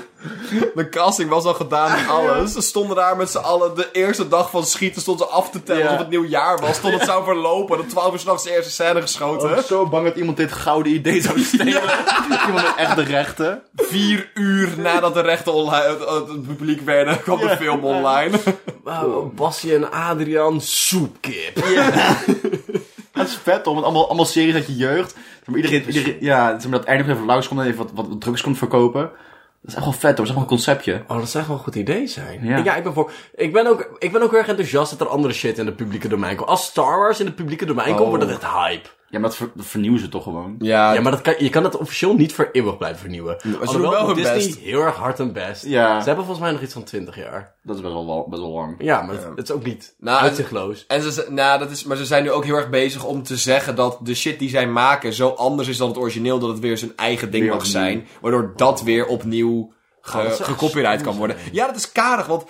Speaker 4: De casting was al gedaan en alles. Ze stonden daar met z'n allen de eerste dag van schieten stonden ze af te tellen
Speaker 3: Ja.
Speaker 4: of het nieuwjaar was. Tot het zou verlopen. De 12 uur s'nachts de eerste scène
Speaker 3: Ik
Speaker 4: geschoten.
Speaker 3: was zo bang dat iemand dit gouden idee (laughs) zou stelen. Iemand met echt de rechten.
Speaker 4: Vier uur nadat de rechten online, het, het- het publiek werden, kwam de
Speaker 3: Ja.
Speaker 4: film online.
Speaker 1: Wauw, Basje en Adriaan, soepkip.
Speaker 3: Het is vet om het allemaal, allemaal series uit je jeugd. Zeg maar, iedereen, iedereen, ja, zeg maar, dat eindelijk even langs komt en even wat, wat, wat drugs komt verkopen. Dat is echt wel vet hoor, dat is echt wel een conceptje.
Speaker 1: Oh, dat zou echt wel een goed idee zijn.
Speaker 3: Ja.
Speaker 1: Ja, ik, ben voor, ik, ben ook, ik ben ook heel erg enthousiast dat er andere shit in het publieke domein komt. Als Star Wars in het publieke domein
Speaker 3: Oh.
Speaker 1: komt, wordt dat echt hype.
Speaker 3: Ja, maar dat, ver- dat vernieuwen ze toch gewoon.
Speaker 1: Ja, maar dat kan, je kan het officieel niet voor eeuwig blijven vernieuwen.
Speaker 4: doen
Speaker 1: Alhoewel
Speaker 4: wel hun
Speaker 1: Disney
Speaker 4: best.
Speaker 1: heel erg hard hun best.
Speaker 3: Ja.
Speaker 1: Ze hebben volgens mij nog iets van 20 jaar.
Speaker 3: Dat is best wel, lang- best wel lang.
Speaker 1: Ja, maar het is ook niet
Speaker 4: Nou,
Speaker 1: uitzichtloos.
Speaker 4: En ze, ze- nou, dat is, maar ze zijn nu ook heel erg bezig om te zeggen dat de shit die zij maken zo anders is dan het origineel, dat het weer zijn eigen ding
Speaker 3: Weer
Speaker 4: mag
Speaker 3: opnieuw.
Speaker 4: zijn. Waardoor dat weer opnieuw ge,
Speaker 1: dat zou
Speaker 4: gecopyright kan worden. Ja, dat is karig, want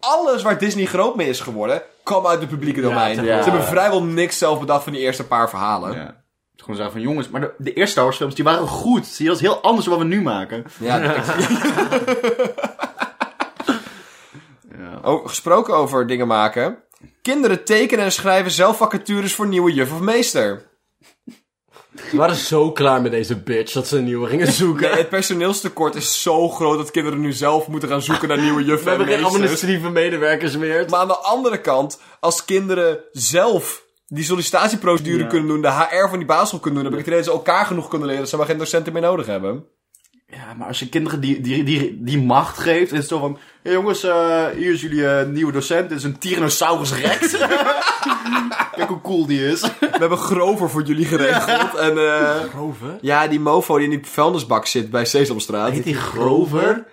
Speaker 4: alles waar Disney groot mee is geworden, kwam uit het publieke domein.
Speaker 1: dat
Speaker 3: is
Speaker 4: Ze
Speaker 3: echt
Speaker 4: hebben
Speaker 3: waar.
Speaker 4: vrijwel niks zelf bedacht van die eerste paar verhalen.
Speaker 3: Ja. Het is Gewoon zeggen van jongens, maar de, de eerste Star Wars films die waren goed. Zie je, dat is heel anders dan wat we nu maken.
Speaker 4: Ja,
Speaker 3: (laughs)
Speaker 4: ik- (laughs) O- Oh, gesproken over dingen maken. Kinderen tekenen en schrijven zelf vacatures voor nieuwe juf of meester.
Speaker 1: Ze waren zo klaar met deze bitch dat ze een nieuwe gingen zoeken.
Speaker 4: Nee, het personeelstekort is zo groot dat kinderen nu zelf moeten gaan zoeken naar nieuwe
Speaker 1: we
Speaker 4: juffen en
Speaker 1: hebben geen
Speaker 4: meesters.
Speaker 1: administratieve medewerkers meer.
Speaker 4: Maar aan de andere kant, als kinderen zelf die sollicitatieprocedure
Speaker 3: Ja.
Speaker 4: kunnen doen, de HR van die basisschool kunnen doen, heb ik het idee dat ze elkaar genoeg kunnen leren dat ze maar geen docenten meer nodig hebben.
Speaker 3: Ja, maar als je kinderen die, die, die, die macht geeft, is het zo van... Hé jongens, eh, hier is jullie eh, nieuwe docent. Dit is een Tyrannosaurus Rex. (laughs) Kijk hoe cool die is.
Speaker 4: We hebben Grover voor jullie geregeld. En, eh,
Speaker 1: Grover?
Speaker 4: ja, die mofo die in die vuilnisbak zit bij Sesamstraat.
Speaker 1: Heet die Grover?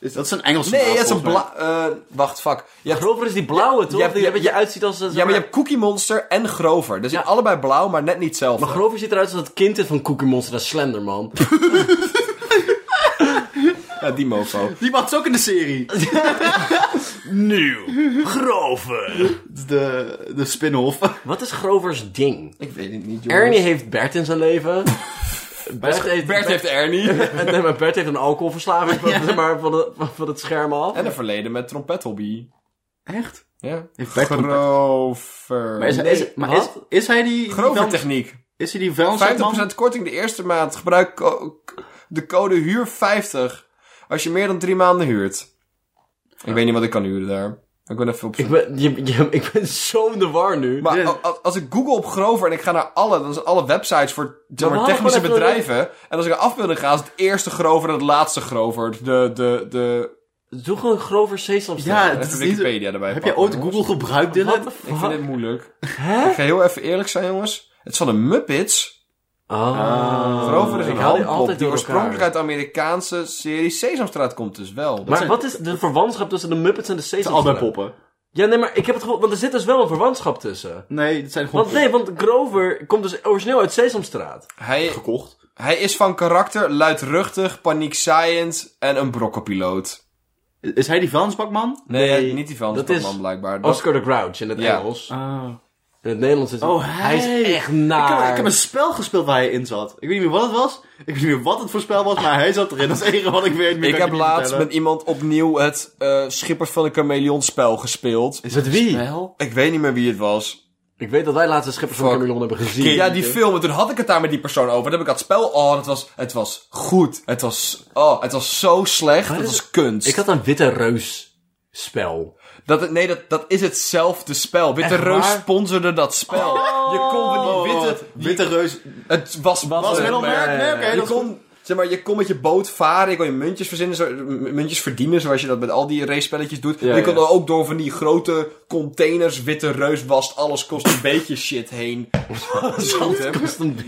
Speaker 3: Is, dat is een Engelse
Speaker 4: Nee,
Speaker 3: naam,
Speaker 4: dat is een
Speaker 3: volgens mij.
Speaker 4: bla... eh, wacht, fuck. Je hebt,
Speaker 1: Grover is die blauwe, toch?
Speaker 4: ja,
Speaker 1: die
Speaker 4: ja,
Speaker 1: er een beetje uitziet als... als-
Speaker 4: ja, maar je hebt Cookie Monster en Grover. Dus
Speaker 1: Ja.
Speaker 4: allebei blauw, maar net niet hetzelfde.
Speaker 1: Maar Grover ziet eruit als het kind is van Cookie Monster en Slenderman.
Speaker 4: Ja, die mofo.
Speaker 3: Die mag ook in de serie. (laughs) Het
Speaker 1: Nieuw. Grover.
Speaker 3: is de, de spin-off.
Speaker 1: Wat is Grovers ding?
Speaker 4: Ik weet het niet, jongens.
Speaker 1: Ernie heeft Bert in zijn leven. Bert heeft...
Speaker 4: Bert heeft Ernie.
Speaker 1: Nee, maar Bert heeft een alcoholverslaving van, zeg maar, van, de- van- van het scherm af.
Speaker 4: En een verleden met trompethobby.
Speaker 3: Echt?
Speaker 4: Ja.
Speaker 3: Heeft Bert trompet?
Speaker 4: Grover.
Speaker 3: Maar is, hij- is, maar is,
Speaker 1: wat?
Speaker 3: is hij die...
Speaker 4: Grover
Speaker 3: die vuil-
Speaker 4: techniek.
Speaker 3: is hij die
Speaker 4: 50%
Speaker 3: vuilnisman?
Speaker 4: korting de eerste maand. Gebruik co- k- de code huur50 als je meer dan drie maanden huurt. Ik weet niet wat ik kan huren daar. Ik ben even op
Speaker 3: (laughs)
Speaker 4: zoek.
Speaker 1: Ik ben, je- je- ik ben zo in de war nu.
Speaker 4: Maar
Speaker 3: Ja.
Speaker 4: a- a- als ik google op Grover en ik ga naar alle, dan zijn alle websites voor zeg maar,
Speaker 1: we hadden
Speaker 4: technische
Speaker 1: gewoon even-
Speaker 4: bedrijven. En als ik naar afbeelding ga, is het eerste Grover en het laatste Grover. De, de, de
Speaker 1: Doe gewoon Grover Sesamstraat.
Speaker 3: Ja, het
Speaker 4: even
Speaker 3: is niet...
Speaker 4: Wikipedia erbij
Speaker 3: Heb jij
Speaker 4: pakken,
Speaker 3: ooit
Speaker 4: jongens.
Speaker 3: Google gebruikt,
Speaker 1: What
Speaker 3: Dylan?
Speaker 1: the
Speaker 4: Ik vind
Speaker 1: fuck?
Speaker 4: dit moeilijk.
Speaker 1: Hè?
Speaker 4: Ik ga heel even eerlijk zijn, jongens. Het is van de Muppets.
Speaker 1: Ah.
Speaker 4: Grover is
Speaker 1: ik
Speaker 4: een
Speaker 1: haal die
Speaker 4: halfpop
Speaker 1: altijd
Speaker 4: die
Speaker 1: door
Speaker 4: oorspronkelijk
Speaker 1: elkaar.
Speaker 4: uit de Amerikaanse serie Sesamstraat komt dus wel.
Speaker 1: Maar
Speaker 3: zijn-
Speaker 1: wat is de verwantschap tussen de Muppets en de
Speaker 3: Het zijn
Speaker 1: Sesamstraat?
Speaker 3: allebei poppen.
Speaker 1: Ja, nee, maar ik heb het gewoon... Want er zit dus wel een verwantschap tussen.
Speaker 3: Nee, het zijn gewoon
Speaker 1: Want nee, want Grover komt dus origineel uit Sesamstraat.
Speaker 4: Hij,
Speaker 3: gekocht.
Speaker 4: hij is van karakter luidruchtig, paniekzaaiend en een brokkenpiloot.
Speaker 3: Is hij die vuilnisbakman?
Speaker 4: Nee,
Speaker 1: Nee,
Speaker 4: niet die
Speaker 1: dat
Speaker 4: van man
Speaker 1: is
Speaker 4: blijkbaar. Dat-
Speaker 1: Oscar de Grouch in het
Speaker 4: Ja.
Speaker 1: Engels.
Speaker 3: Ah.
Speaker 1: In het Nederlands is hij...
Speaker 3: Oh,
Speaker 1: hij
Speaker 3: hey.
Speaker 1: is echt naar.
Speaker 3: Ik heb, ik heb een spel gespeeld waar hij in zat. Ik weet niet meer wat het was. Ik weet niet meer wat het voor spel was, maar hij zat erin. Dat is het enige wat ik weet. Meer
Speaker 4: Ik
Speaker 3: kan
Speaker 4: heb
Speaker 3: je niet
Speaker 4: laatst
Speaker 3: vertellen.
Speaker 4: met iemand opnieuw het eh Schippers van de Chameleon spel gespeeld.
Speaker 1: Met wie?
Speaker 3: Spel?
Speaker 4: Ik weet niet meer wie het was.
Speaker 1: Ik weet dat wij laatst de Schippers van
Speaker 4: Fuck.
Speaker 1: Cameron hebben gezien.
Speaker 4: Ja, die film, en toen had ik het daar met die persoon over. Dan heb ik dat spel, oh, het was, het was goed. Het was, oh, het was zo slecht. Het
Speaker 1: is-
Speaker 4: was kunst.
Speaker 1: Ik had een Witte Reus spel.
Speaker 4: Dat, het- nee, dat, dat is hetzelfde spel. Witte
Speaker 1: Echt
Speaker 4: Reus
Speaker 1: waar? Oh.
Speaker 4: sponsorde dat spel. Je kon met
Speaker 3: Oh.
Speaker 4: die witte...
Speaker 3: Witte reus.
Speaker 4: Het was...
Speaker 1: Was
Speaker 3: Middelmerk? Nee, oké,
Speaker 4: je
Speaker 3: dat is
Speaker 4: kon... Zeg maar, je kon met je boot varen, je kon je muntjes, verzinnen, zo- m- muntjes verdienen, zoals je dat met al die race-spelletjes doet.
Speaker 1: Ja,
Speaker 4: je kon
Speaker 1: ja.
Speaker 4: er ook door van die grote containers, witte reus wast, alles kost een beetje shit
Speaker 1: (laughs)
Speaker 4: heen. Zo'n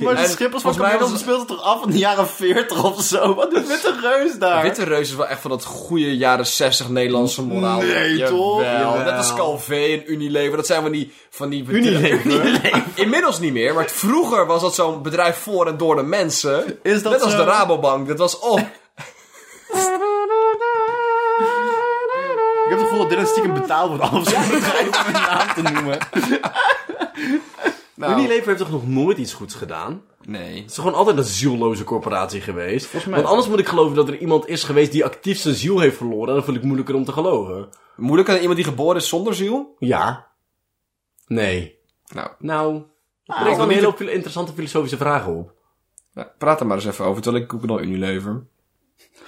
Speaker 3: Maar de
Speaker 4: En
Speaker 3: schippers van
Speaker 4: volgens mij
Speaker 3: Camille
Speaker 4: was-
Speaker 3: speelt het toch af in de jaren 40 of zo? Wat doet Witte Reus daar?
Speaker 4: Witte Reus is wel echt van dat goede jaren 60 Nederlandse moraal.
Speaker 3: Nee, toch?
Speaker 4: Jawel.
Speaker 3: Jawel.
Speaker 4: Net als Calvé en Unilever. Dat zijn van die... Van die (laughs)
Speaker 1: Unilever?
Speaker 4: Inmiddels niet meer. Maar vroeger was dat zo'n bedrijf voor en door de mensen.
Speaker 3: Is dat
Speaker 4: Net als
Speaker 3: zo?
Speaker 4: de Rabobank. Dat was...
Speaker 3: (laughs)
Speaker 4: Oh,
Speaker 3: Ik heb het gevoel dat dit een stiekem betaald wordt om zo'n bedrijf met naam te noemen.
Speaker 4: nou.
Speaker 1: Unilever heeft toch nog nooit iets goeds gedaan?
Speaker 4: Nee.
Speaker 1: Het is gewoon altijd een zielloze corporatie geweest. Want anders moet ik geloven dat er iemand is geweest die actief zijn ziel heeft verloren. En dat vind ik moeilijker om te geloven.
Speaker 4: Moeilijker dan iemand die geboren is zonder ziel?
Speaker 1: Ja. Nee.
Speaker 4: Nou,
Speaker 1: Nou, dat
Speaker 4: ik
Speaker 1: brengt
Speaker 4: wil
Speaker 1: een
Speaker 4: niet-
Speaker 1: hele hoop fil- interessante filosofische vragen op.
Speaker 4: nou, praat er maar eens even over. Terwijl ik koek naar Unilever.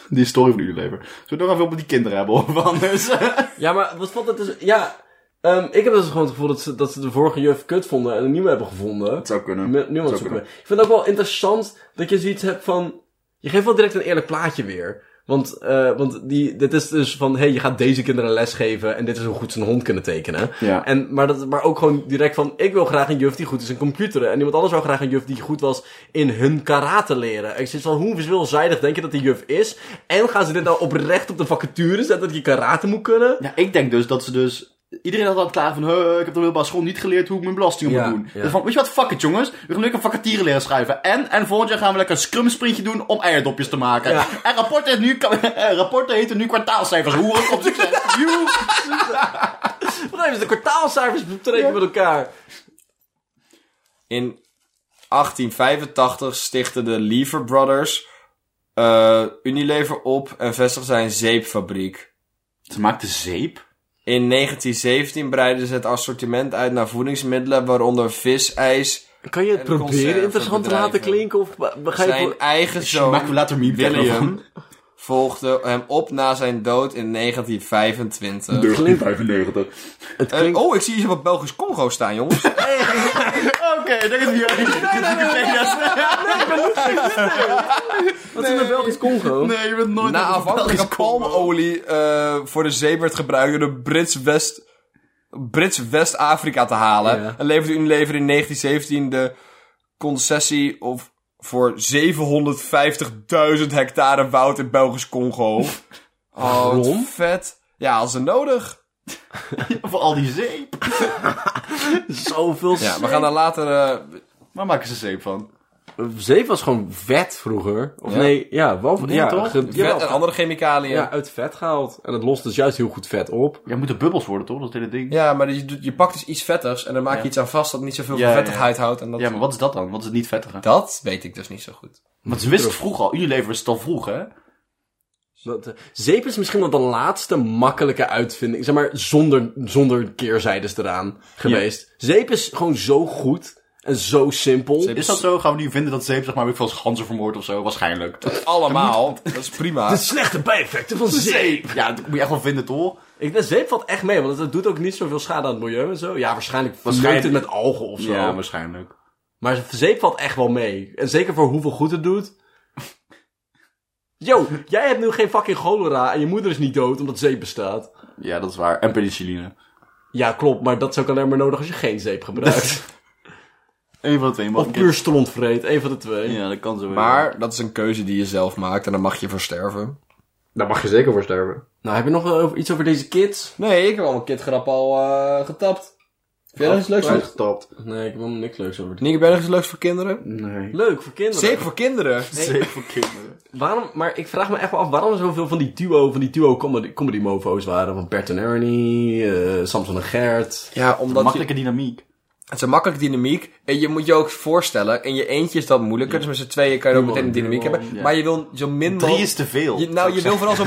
Speaker 3: Die story van Unilever. Zullen we nog even op die kinderen hebben of anders? (laughs)
Speaker 1: Ja, maar wat valt het dus... Ja, ehm, ik heb dus gewoon het gevoel dat ze, dat ze de vorige juf kut vonden en een nieuwe hebben gevonden.
Speaker 3: zou
Speaker 1: Nu
Speaker 3: kunnen.
Speaker 1: nu aan het
Speaker 3: Zou
Speaker 1: zoeken ben. Ik vind het ook wel interessant dat je zoiets hebt van... Je geeft wel direct een eerlijk plaatje weer. Want, eh, want die, dit is dus van... Hé, hey, je gaat deze kinderen les geven en dit is hoe goed ze een hond kunnen tekenen.
Speaker 3: Ja.
Speaker 1: En, maar, dat, maar ook gewoon direct van... Ik wil graag een juf die goed is in computeren. En iemand anders wil graag een juf die goed was in hun karate leren. En ik zit van... Hoe veelzijdig denk je dat die juf is? En gaan ze dit nou oprecht op de vacature zetten dat je karate moet kunnen?
Speaker 3: Ja, ik denk dus dat ze dus... Iedereen had al klaar van, "Huh, ik heb de middelbare school niet geleerd hoe ik mijn belastingen
Speaker 1: Ja,
Speaker 3: moet doen.
Speaker 1: ja.
Speaker 3: Dus van, weet je wat, fuck it jongens. We gaan lekker vacature leren schrijven. En, en volgend jaar gaan we lekker een scrum sprintje doen om eierdopjes te maken.
Speaker 1: Ja.
Speaker 3: En rapporten, heet nu, (laughs) eh, rapporten heten nu kwartaalcijfers. Hoe op succes. Joe.
Speaker 1: Wat hebben ze de kwartaalcijfers betrekken met elkaar?
Speaker 4: In 1885 stichtten de Lever Brothers eh, Unilever op en vestigden zij een zeepfabriek.
Speaker 3: Ze maakte zeep.
Speaker 4: In 1917 breidden ze het assortiment uit naar voedingsmiddelen, waaronder visijs.
Speaker 1: Kan je het
Speaker 4: En
Speaker 1: proberen interessant te laten
Speaker 4: conservenbedrijven.
Speaker 1: klinken? Of be- begrijp je...
Speaker 4: Zijn eigen
Speaker 3: Zo. Maakten we
Speaker 4: zoon,
Speaker 3: later meme
Speaker 4: William, volgde hem op na zijn dood in 1925.
Speaker 1: klinkt-
Speaker 3: 1995.
Speaker 1: Het
Speaker 4: Eh, oh, ik zie iets op het Belgisch Congo staan, jongens.
Speaker 3: Oké, dat is hier.
Speaker 1: Wat is in de Belgisch Congo?
Speaker 3: (laughs) Nee, je bent nooit
Speaker 4: na
Speaker 3: op een
Speaker 4: afhankelijke
Speaker 3: Belgisch combo.
Speaker 4: palmolie eh, voor de zee werd gebruikt door de Brits West... Brits West-Afrika te halen.
Speaker 1: Ja.
Speaker 4: En leverde Unilever in 1917 de concessie of voor 750.000 hectare woud in Belgisch Congo. Oh, wat
Speaker 1: Waarom?
Speaker 4: vet. Ja, als ze nodig.
Speaker 3: (laughs) Voor al die zeep.
Speaker 1: Zoveel
Speaker 4: Ja, we gaan daar later... eh,
Speaker 3: Waar maken ze zeep van?
Speaker 1: Zeep was gewoon vet vroeger. Of
Speaker 4: Ja.
Speaker 1: nee, ja, wel van-
Speaker 3: Nee,
Speaker 1: ja,
Speaker 3: toch?
Speaker 1: ge-
Speaker 4: vet
Speaker 1: jawel,
Speaker 4: en andere chemicaliën.
Speaker 1: ja,
Speaker 4: Ja,
Speaker 1: uit vet gehaald. En het lost dus juist heel goed vet op.
Speaker 3: Ja, moeten bubbels worden toch? Dat hele ding.
Speaker 4: maar je, doet- je pakt dus iets vettigs en dan maak je
Speaker 3: Ja.
Speaker 4: iets aan vast dat niet zoveel
Speaker 3: Ja,
Speaker 4: van
Speaker 3: ja, ja.
Speaker 4: vettigheid houdt. En dat,
Speaker 3: Ja, maar wat is dat dan? Wat is het niet vettige?
Speaker 4: dat weet ik dus niet zo goed.
Speaker 3: Want ze wisten het vroeg al. Unilever is het al vroeg, hè?
Speaker 1: Dat, eh, zeep is misschien wel de laatste makkelijke uitvinding. Zeg maar, zonder, zonder keerzijdes eraan geweest. Zeep is gewoon zo goed. En zo simpel.
Speaker 4: Zeep-
Speaker 3: Is dat zo? Gaan we nu vinden dat zeep, zeg maar, weet ik veel, ganzen vermoord of zo? Waarschijnlijk.
Speaker 4: Allemaal. Dat is prima.
Speaker 1: De slechte bijeffecten van zeep.
Speaker 3: Ja, dat moet je echt wel vinden, toch?
Speaker 1: Ik, de zeep valt echt mee, want het doet ook niet zoveel schade aan het milieu en zo. Ja, waarschijnlijk
Speaker 3: Waarschijnlijk-
Speaker 1: verleukt het met algen of zo. maar...
Speaker 3: waarschijnlijk.
Speaker 1: zeep valt echt wel mee. En zeker voor hoeveel goed het doet. Yo, jij hebt nu geen fucking cholera en je moeder is niet dood omdat zeep bestaat.
Speaker 3: Ja, dat is waar. En penicilline.
Speaker 1: Ja, klopt, maar dat is ook alleen maar nodig als je geen zeep gebruikt.
Speaker 3: Eén van de twee. mag
Speaker 1: of
Speaker 3: ik-
Speaker 1: puur strontvreed, één van de twee.
Speaker 3: Ja, dat kan zo.
Speaker 4: Maar dat is een keuze die je zelf maakt en daar mag je voor sterven.
Speaker 1: Daar mag je zeker voor sterven. Nou, heb je nog eh, over- iets over deze kids?
Speaker 4: Nee, ik heb al mijn kitgrap al eh, getapt. Heb jij nog iets leuks voor...
Speaker 3: uitgetapt.
Speaker 1: Nee, ik heb helemaal niks leuks over.
Speaker 4: Oh, Nienke, heb jij nog iets leuks voor kinderen?
Speaker 3: Nee.
Speaker 1: Leuk, voor kinderen.
Speaker 4: Zeep voor kinderen.
Speaker 3: Zeep voor kinderen.
Speaker 1: Waarom, maar ik vraag me echt wel af waarom er zoveel van die duo, van die duo comedy, comedy mofo's waren. Van Bert en Ernie, eh, Samson en Gert.
Speaker 4: Ja, omdat
Speaker 3: Makkelijke dynamiek.
Speaker 4: je... Het is een makkelijke dynamiek. En je moet je ook voorstellen. In je eentje is dat moeilijker. Dus met z'n tweeën kan je ook
Speaker 1: Duo,
Speaker 4: meteen een dynamiek
Speaker 1: duo,
Speaker 4: hebben.
Speaker 3: ja.
Speaker 4: Maar je wil zo min
Speaker 3: Drie
Speaker 4: mogelijk...
Speaker 3: is te veel.
Speaker 4: Je, nou, je wil vooral zo...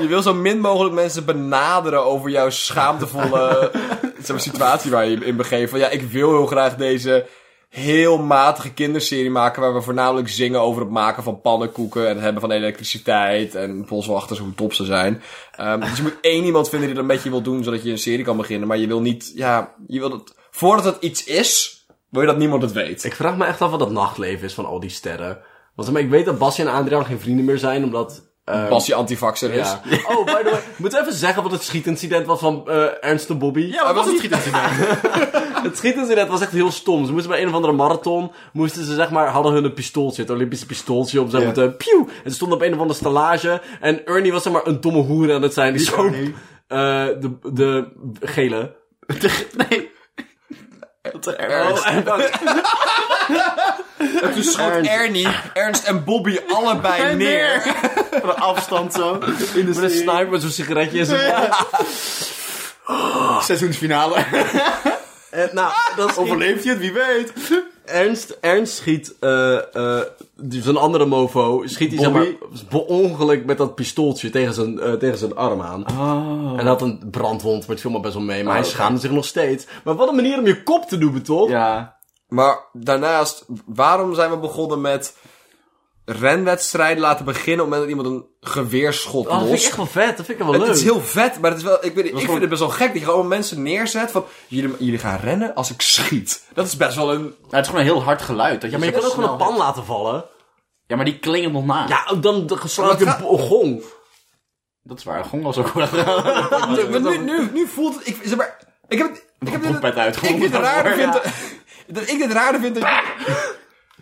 Speaker 4: je wil zo min mogelijk mensen benaderen over jouw schaamtevolle... zo'n situatie waar je je in begeeft. Van ja, ik wil heel graag deze heel matige kinderserie maken. Waar we voornamelijk zingen over het maken van pannenkoeken. En het hebben van elektriciteit. En polswachters, hoe top ze zijn. Ehm, dus je moet één iemand vinden die dat met je wil doen. Zodat je een serie kan beginnen. Maar je wil niet, ja, je wil dat. Voordat het iets is, wil je dat niemand het weet.
Speaker 1: Ik vraag me echt af wat dat nachtleven is van al die sterren. Want zeg maar, ik weet dat Basje en Adriaan geen vrienden meer zijn, omdat... eh,
Speaker 4: Pas die antivaxer is.
Speaker 1: ja. Oh, by the way. (laughs) Moet even zeggen wat het schietincident was van eh, Ernst en Bobby.
Speaker 3: Ja, maar was het
Speaker 4: (laughs)
Speaker 3: schietincident?
Speaker 1: Het schietincident was echt heel stom. Ze moesten bij een of andere marathon, moesten ze zeg maar, hadden hun een pistooltje, het Olympische pistooltje op, zeg
Speaker 3: Ja.
Speaker 1: maar, eh, pieuw. En ze stonden op een of andere stallage en Ernie was zeg maar een domme hoer aan het zijn. Die zo,
Speaker 3: Ernie?
Speaker 1: eh, de, de gele.
Speaker 3: nee. Wat een
Speaker 1: Oh, en dan-
Speaker 4: En toen schoot
Speaker 3: Ernst.
Speaker 4: Dus Ernie, Ernst en (laughs) Bobby allebei (laughs) neer.
Speaker 3: Van een afstand zo. In de
Speaker 1: met een sniper met zo'n sigaretje in zijn mond.
Speaker 3: Seizoensfinale.
Speaker 1: En, Nou, dat is
Speaker 3: Overleeft hij het? Wie weet.
Speaker 1: Ernst, Ernst schiet, eh eh die- zo'n andere mofo, schiet hij zeg maar,
Speaker 3: Bobby?
Speaker 1: per ongeluk met dat pistooltje tegen zijn, eh, tegen zijn arm aan. En hij had een brandwond, maar het viel maar best wel mee, maar hij schaamde zich nog steeds. Maar wat een manier om je kop te doen, toch?
Speaker 3: Ja.
Speaker 4: Maar daarnaast, waarom zijn we begonnen met renwedstrijden laten beginnen op het moment dat iemand een geweerschot
Speaker 1: Oh, dat vind ik
Speaker 4: lost?
Speaker 1: echt wel vet, dat vind ik wel
Speaker 4: Het
Speaker 1: leuk.
Speaker 4: is heel vet, maar het is wel, ik, weet, niet, ik
Speaker 3: gewoon-
Speaker 4: vind het best wel gek dat je gewoon mensen neerzet van... Jullie, jullie gaan rennen als ik schiet. Dat is best wel een...
Speaker 3: Nou, het is gewoon een heel hard geluid. Dat
Speaker 4: Dus
Speaker 1: ja, maar je kan ook gewoon een
Speaker 3: snel-
Speaker 1: pan laten vallen.
Speaker 3: Ja, maar die klinkt nog na.
Speaker 1: Ja, oh, dan de- slaat je
Speaker 4: Maar
Speaker 1: een
Speaker 4: het
Speaker 1: bo- gong.
Speaker 3: Dat is waar. de Gong was ook wel
Speaker 4: Ah, Maar nu, nu, nu voelt het... Ik, zeg maar, ik heb, het- ik heb dit,
Speaker 3: trompet uitgevonden.
Speaker 4: ik dit raarder vind... dat- Dat ik dit raarder vind... dat-